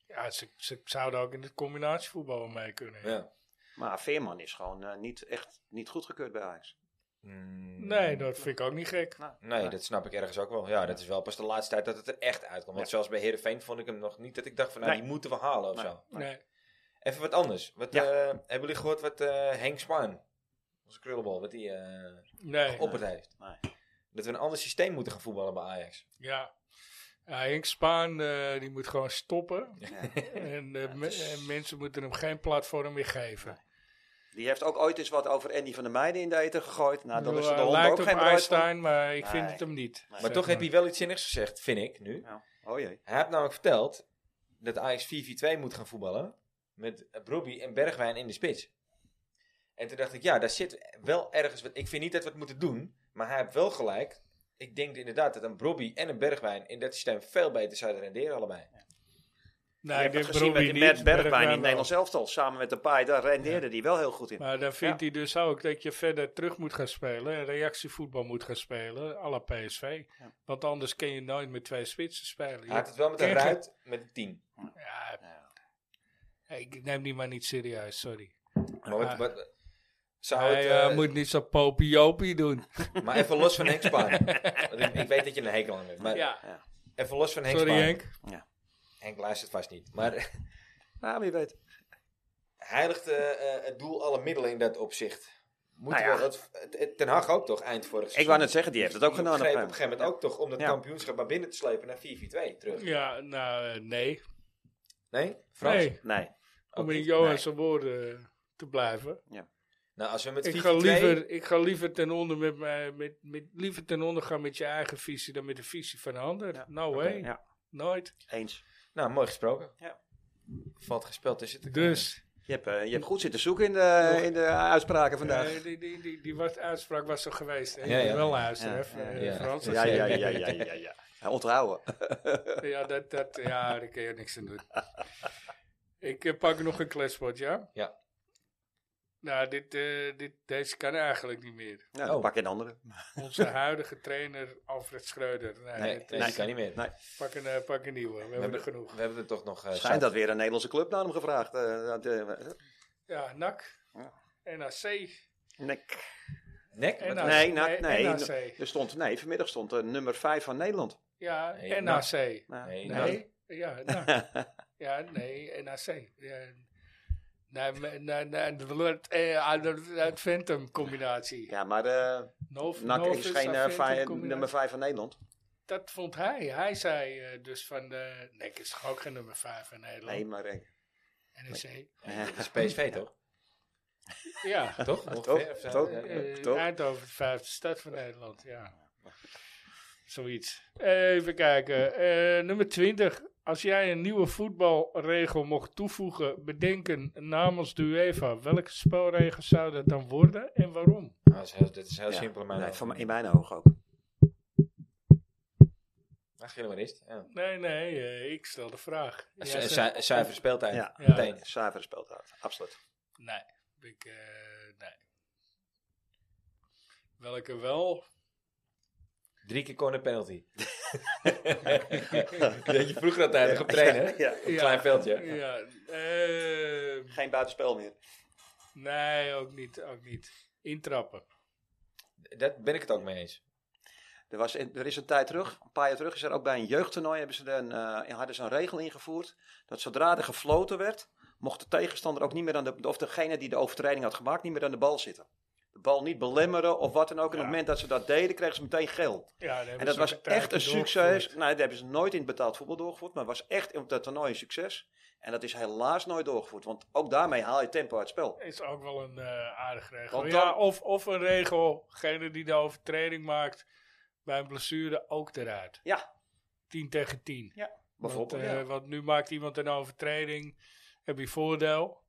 S2: ja, ze, ze zouden ook in het combinatievoetbal mee kunnen.
S1: Ja.
S4: Maar Veerman is gewoon eh, niet echt niet goedgekeurd bij Ajax.
S1: Mm,
S2: Nee, dat vind ik ook niet gek.
S1: Nee, dat snap ik ergens ook wel. Ja, dat is wel pas de laatste tijd dat het er echt uitkomt. Want
S4: Ja.
S1: zelfs bij Heerenveen vond ik hem nog niet dat ik dacht van, nou,
S4: Nee.
S1: die moeten we halen of
S4: Nee.
S1: zo.
S2: Nee.
S1: Even wat anders. Wat,
S4: Ja.
S1: eh, hebben jullie gehoord wat eh, Henk Spaan, onze krullenbol, wat die eh
S2: Nee.
S1: geopperd heeft?
S4: Nee.
S1: Dat we een ander systeem moeten gaan voetballen bij Ajax.
S2: Ja. ja Henk Spaan eh, die moet gewoon stoppen. en, eh, me- en mensen moeten hem geen platform meer geven.
S4: Die heeft ook ooit eens wat over Andy van der Meijden in de eten gegooid. Nou, dan
S2: Ik
S4: is
S2: bedoel,
S4: het de
S2: hij
S4: hond
S2: lijkt
S4: ook
S2: op
S4: geen bruid van.
S2: Einstein, maar ik vind
S4: Nee.
S2: het hem niet.
S4: Maar
S1: Maar
S2: zeg
S1: toch heeft hij wel iets zinnigs gezegd, vind ik nu.
S4: Ja. Oh jee.
S1: Hij heeft namelijk verteld dat Ajax 4-4-2 moet gaan voetballen. Met Robbie en Bergwijn in de spits. En toen dacht ik, ja, daar zit wel ergens wat. Ik vind niet dat we het moeten doen. Maar hij heeft wel gelijk. Ik denk inderdaad dat een Robbie en een Bergwijn in dat systeem veel beter zouden renderen, allebei.
S2: Nee,
S4: je
S2: ik
S4: hebt het
S2: denk
S4: gezien met
S2: Brobbey
S4: die
S2: niet.
S4: Bert Bergwijn in
S2: Bergwijn
S4: het
S2: wel.
S4: Nederlands elftal. Samen met de paai, daar rendeerde die wel heel goed in.
S2: Maar dan vindt hij dus ook dat je verder terug moet gaan spelen. En reactievoetbal moet gaan spelen. à la PSV. Want anders kun je nooit met twee spitsen spelen.
S1: Hij had het wel met een
S2: Kijk,
S1: ruit met een 10.
S2: Ja, Ik neem die maar niet serieus, sorry.
S1: Maar, wat,
S2: Ja.
S1: wat- zou
S2: Hij
S1: het,
S2: eh,
S1: eh,
S2: moet niet zo popiopie doen.
S1: Maar even los van
S2: [LAUGHS]
S1: Henk Spaan. Want ik, ik weet dat je een hekel aan hebt. Maar
S2: ja.
S1: even los van Henk
S2: Sorry
S1: Spaan.
S2: Henk.
S1: Henk luistert vast niet. Maar
S4: Nou, wie weet.
S1: heiligt eh, eh, het doel alle middelen in dat opzicht. Moeten
S4: Nou ja.
S1: we dat, eh, Ten Hag ook toch eind vorig
S4: Ik
S1: seizoen?
S4: wou net zeggen, die heeft het ook
S1: Die
S4: gedaan.
S1: greep op een gegeven moment ook toch om dat
S4: Ja.
S1: kampioenschap maar binnen te slepen naar 4-4-2 terug.
S2: Ja, nou eh, nee.
S1: Nee? Frans?
S2: Nee,
S4: Nee.
S2: om
S1: Ook
S2: in
S1: niet.
S2: Johan zijn woorden eh, te blijven.
S1: Nou, als we met 4-4-2...
S2: Ik ga, liever, ik ga liever ten onder met mijn, met, met, liever ten onder gaan met je eigen visie dan met de visie van een ander. No way.
S4: Ja,
S2: Nooit.
S4: eens.
S1: Nou, mooi gesproken.
S4: Ja.
S1: Valt gespeeld tussen te komen.
S2: Dus,
S4: Je hebt, eh, je hebt goed zitten zoeken in de, in de uitspraken vandaag.
S2: eh, die, die, die, die was, uitspraak was er geweest. Hè?
S1: Ja, ja.
S2: Wel luisteren,
S4: Ja,
S2: hè, van,
S4: ja,
S2: eh,
S1: ja.
S2: Frans.
S4: Ja, ja, ja, ja, ja, ja. [LAUGHS] Ja, Onthouden.
S2: Ja, dat, dat, ja, daar kun je niks aan doen. Ik eh, pak nog een kletsbord, ja?
S1: Ja.
S2: Nou, dit, eh, dit, deze kan eigenlijk niet meer.
S4: Nou, dan
S1: Oh.
S4: pak je een andere.
S2: Onze huidige trainer Alfred Schreuder. Nee,
S1: Nee,
S2: dit
S1: nee,
S2: is-
S1: dat kan niet meer.
S4: Nee.
S2: pak, een, eh, pak een nieuwe, we, hebben er
S1: hebben-
S2: genoeg.
S1: We hebben er toch nog... eh,
S4: Schijnt
S1: zat.
S4: dat weer een Nederlandse club naar hem gevraagd. eh, dat, eh,
S2: Ja, NAC,
S4: Ja.
S2: NAC.
S4: nek.
S1: Nek?
S2: En
S1: Wat-
S2: dan-
S4: Nee, nee,
S2: nee,
S4: nee.
S2: NAC.
S4: Er stond, nee, vanmiddag stond eh, nummer 5 van Nederland.
S2: Ja,
S1: Nee,
S2: NAC.
S4: Nou,
S1: Nee, nee.
S2: Nee, ja, NAC. Ja, nee, NAC. Ja, Nee, me- nee, nee, dat- eh, ah, dat- dat Phantom combinatie.
S4: Ja, maar eh
S2: No,
S4: NAC
S2: no
S4: is geen
S2: offense,
S4: eh,
S2: Phantom
S4: vij-
S2: combinatie.
S4: nummer 5 van Nederland.
S2: Dat vond hij. Hij zei eh, dus van, de Nek is toch ook geen nummer 5 in Nederland?
S4: Nee, maar... eh,
S2: NEC.
S1: Dat is
S4: [LAUGHS]
S1: PSV toch?
S2: Ja,
S1: Toch? Ongeveer, of zo?
S4: toch.
S1: Ja, ja.
S2: eh,
S4: toch?
S2: Eindhoven, de vijfde stad van Nederland, ja. Zoiets. Even kijken. Eh, nummer 20. Als jij een nieuwe voetbalregel mocht toevoegen, bedenken namens de UEFA, welke spelregels zou dat dan worden en waarom?
S1: Nou, dat is heel- dat is heel
S4: ja.
S1: simpel in mijn
S4: Nee,
S1: ogen.
S4: van, in mijn ogen ook.
S1: Ach, jullie maar eerst. Ja.
S2: Nee, nee, eh, ik stel de vraag. Jij
S1: Zu-
S2: zegt-
S1: zu- Zuiver speeltijd.
S4: Ja,
S2: Ja.
S1: Meteen.
S4: zuiver speelt uit. Absoluut.
S2: Nee. Ik, eh, nee. Welke wel?
S1: Drie keer corner
S2: [LAUGHS]
S1: penalty. dat je vroeger altijd nog op
S4: [LAUGHS]
S1: trainen, hè?
S4: Ja.
S1: Een klein veldje.
S2: Ja. eh,
S4: Geen buitenspel meer.
S2: nee, ook niet. Ook niet. Intrappen.
S1: Dat ben ik het ook mee eens.
S4: Er, was, in- er is een tijd terug, een paar jaar terug, is er ook bij een jeugdtoernooi hebben ze een, eh, hadden ze een regel ingevoerd. Dat zodra er gefloten werd, mocht de tegenstander ook niet meer aan de, of degene die de overtreding had gemaakt, niet meer aan de bal zitten. De bal niet belemmeren of wat dan ook. En op het moment dat ze dat deden, kregen ze meteen geel.
S2: Ja, daar hebben
S4: En dat
S2: ze
S4: was
S2: ook tijd
S4: echt een
S2: doorgevoerd.
S4: succes. Nou, dat hebben ze nooit in het betaald voetbal doorgevoerd, maar het was echt op dat toernooi een succes. En dat is helaas nooit doorgevoerd, want ook daarmee haal je tempo uit het spel.
S2: Is ook wel een eh aardige regel.
S4: Want
S2: ja,
S4: dan-
S2: of, of een regel, degene die de overtreding maakt bij een blessure ook eruit.
S4: Ja.
S2: 10 tegen 10.
S4: Bijvoorbeeld.
S2: Want, eh,
S4: ja.
S2: want nu maakt iemand een overtreding, heb je voordeel.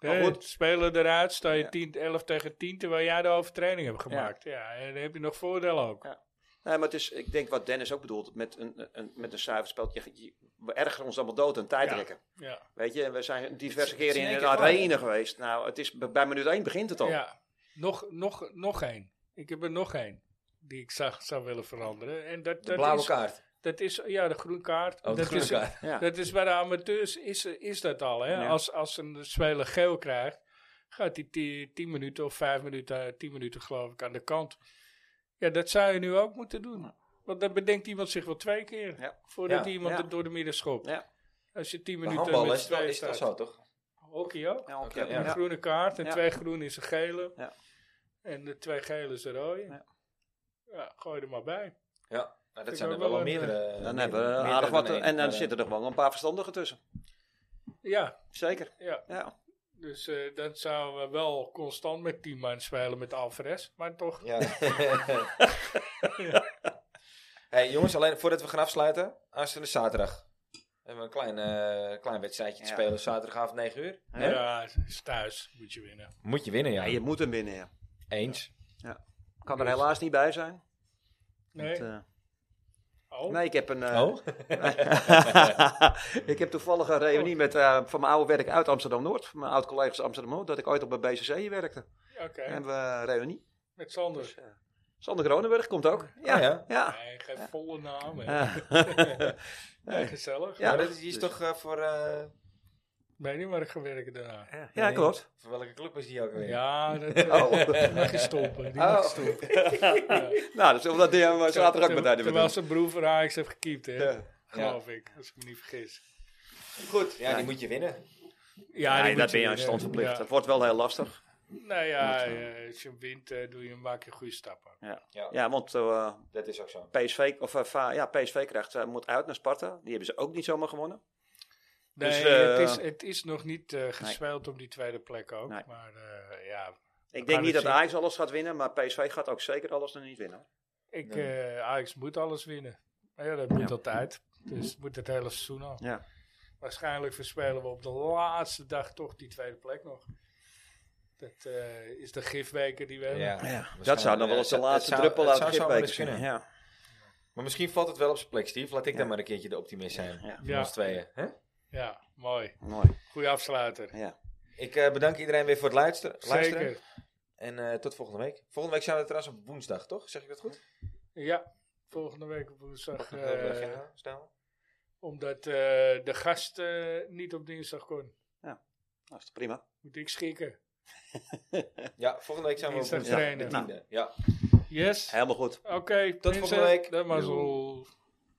S4: Maar
S2: Hè,
S4: goed.
S2: spelen eruit, sta je
S4: Ja.
S2: 10, 11 tegen 10, terwijl jij de overtreding hebt gemaakt. Ja, en dan heb je nog voordeel ook.
S4: Ja. Nee, maar het is, ik denk wat Dennis ook bedoelt, met een, een, met een zuiver spel, je, je- we ergeren ons allemaal dood aan tijdrekken.
S2: Ja,
S4: Weet je, we zijn
S1: Het
S4: diverse
S1: is- het is
S4: keren in
S1: in
S4: een
S1: één keer
S4: arena geweest. Nou, het is, bij minuut 1 begint het al.
S2: ja. Nog, nog, nog één. Ik heb er nog één die ik zag, zou willen veranderen. En dat,
S1: De
S2: dat
S1: blauwe
S2: is,
S1: kaart.
S2: Dat is, ja, de groene kaart.
S1: Oh, de
S2: dat
S1: groene
S2: is,
S1: kaart.
S4: Ja.
S2: Dat is bij de amateurs is, is dat al. Hè?
S4: Ja.
S2: Als, als een speler geel krijgt, gaat hij 10 minuten of 5 minuten, 10 minuten geloof ik, aan de kant. Ja, dat zou je nu ook moeten doen. Want dan bedenkt iemand zich wel twee keer.
S4: Ja.
S2: Voordat
S1: Ja,
S2: iemand
S4: ja.
S2: het door de midden schopt.
S4: Ja.
S2: Als je 10
S1: Bij
S2: minuten
S1: handbal
S2: met
S1: is
S2: z'n
S1: het wel-
S2: tweeën
S1: is het wel
S2: staat.
S1: zo, toch?
S2: Hockey ook.
S4: Ja,
S1: Oké,
S4: oké.
S2: Een
S1: Ja.
S2: groene kaart en
S4: Ja.
S2: twee groene is een gele.
S4: Ja.
S2: En de twee gele is de rode.
S4: Ja.
S2: Ja. gooi er maar bij.
S1: Ja. Nou, dat
S2: ik
S1: zijn er
S2: ook
S1: wel
S2: wel
S1: al
S2: een, eh,
S1: meerdere.
S4: Dan
S1: meerdere-
S4: hebben we
S1: meerdere
S4: aardig wat.
S1: één.
S4: En
S1: Maar,
S4: dan
S1: eh,
S4: zitten er wel een paar verstandigen tussen.
S2: Ja,
S4: Zeker.
S2: ja.
S4: Ja.
S2: Dus eh dan zouden we wel constant met 10 man spelen met Alvarez. Maar toch,
S1: Ja. [LAUGHS] hey, jongens, alleen voordat we gaan afsluiten. Aanstaande zaterdag. We hebben een klein, eh, klein wedstrijdje te
S4: Ja.
S1: spelen. Zaterdagavond 9 uur.
S2: ja, is thuis moet je winnen.
S1: Moet je winnen, ja.
S4: Ja, je moet hem winnen. Ja.
S1: Eens.
S4: Kan er helaas niet bij zijn.
S2: Nee,
S4: Want, eh,
S2: oh,
S4: nee, ik heb een. eh,
S1: Oh?
S4: [LAUGHS] ik heb toevallig een reunie met, eh, van mijn oude werk uit Amsterdam Noord. Van mijn oud collega's Amsterdam Noord. Dat ik ooit op bij BCC werkte.
S2: oké.
S4: En hebben we een reunie. Dus, eh,
S2: Met Sander.
S4: Sander Kronenburg komt ook. Ah, Ja. Eh,
S1: Oh, ja.
S4: ja.
S2: Nee, geen volle [LAUGHS] naam. hè.
S4: Ja.
S2: Ja, gezellig.
S4: [LAUGHS] Ja.
S1: maar Oh, dat is, die is
S4: dus-
S1: toch eh, voor eh,
S2: Weet niet waar ik ga werken daarna.
S4: [LAUGHS] Ja, klopt.
S1: Voor welke club is die ook weer?
S2: Ja, dat
S4: [LAUGHS] Oh.
S2: eh, mag je stoppen. Die mag
S4: Oh.
S2: je
S4: [LAUGHS]
S2: stoppen.
S4: Nou, dus dat deed hij zaterdag ook meteen weer
S2: Terwijl
S4: doen.
S2: zijn broer voor Ajax heeft gekiept, hè.
S4: Ja.
S2: Geloof ik, als ik me niet vergis.
S1: Goed, ja, die moet je winnen.
S2: Ja,
S4: Nee,
S2: die
S4: dat
S2: moet
S4: ben je aan
S2: winnen.
S4: stand verplicht.
S2: Ja.
S4: Dat wordt wel heel lastig.
S2: Nou ja, eh, als je wint, eh, doe je, maak je goede stappen.
S4: Ja, want eh,
S1: Dat is ook zo.
S4: PSV, of, eh, Va- ja, PSV krijgt, eh, moet uit naar Sparta. Die hebben ze ook niet zomaar gewonnen.
S2: Nee,
S4: Dus, eh,
S2: het, is, het is nog niet eh gespeeld om die tweede plek ook.
S4: Nee.
S2: Maar eh, ja,
S4: Ik
S2: gaan
S4: denk niet
S2: het
S4: dat
S2: zien.
S4: Ajax alles gaat winnen, maar PSV gaat ook zeker alles nog niet winnen.
S2: ik,
S1: Nee.
S2: eh, Ajax moet alles winnen. Ja, dat moet
S4: Ja.
S2: altijd. Dus het moet het hele seizoen al.
S4: Ja.
S2: Waarschijnlijk verspelen we op de laatste dag toch die tweede plek nog. Dat eh, is de gifbeker die we hebben.
S4: Dat zou dan wel eens de laatste druppel uit de gifbeker zijn.
S1: kunnen.
S4: Ja.
S1: Maar misschien valt het wel op zijn plek, Steve. Laat ik dan maar een keertje de optimist zijn.
S4: Ja.
S1: Van ons tweeën. Hè?
S2: Ja, mooi.
S4: Mooi.
S2: Goeie afsluiter.
S4: Ja.
S1: Ik eh, bedank iedereen weer voor het luisteren. luisteren.
S2: Zeker.
S1: En eh, tot volgende week. Volgende week zijn we trouwens op woensdag, toch? Zeg ik dat goed?
S2: Ja, volgende week op woensdag.
S1: Heel erg,
S2: eh,
S1: ja, snel.
S2: omdat eh, de gast eh, niet op dinsdag kon.
S4: Dat Nou, is prima.
S2: Moet ik schikken.
S1: Ja, volgende week zijn we op
S2: Dinsdag
S1: woensdag.
S2: trainen.
S1: de tiende. Ja.
S2: Yes.
S4: Helemaal goed.
S2: Oké, tot
S1: volgende week.
S2: Dat was al.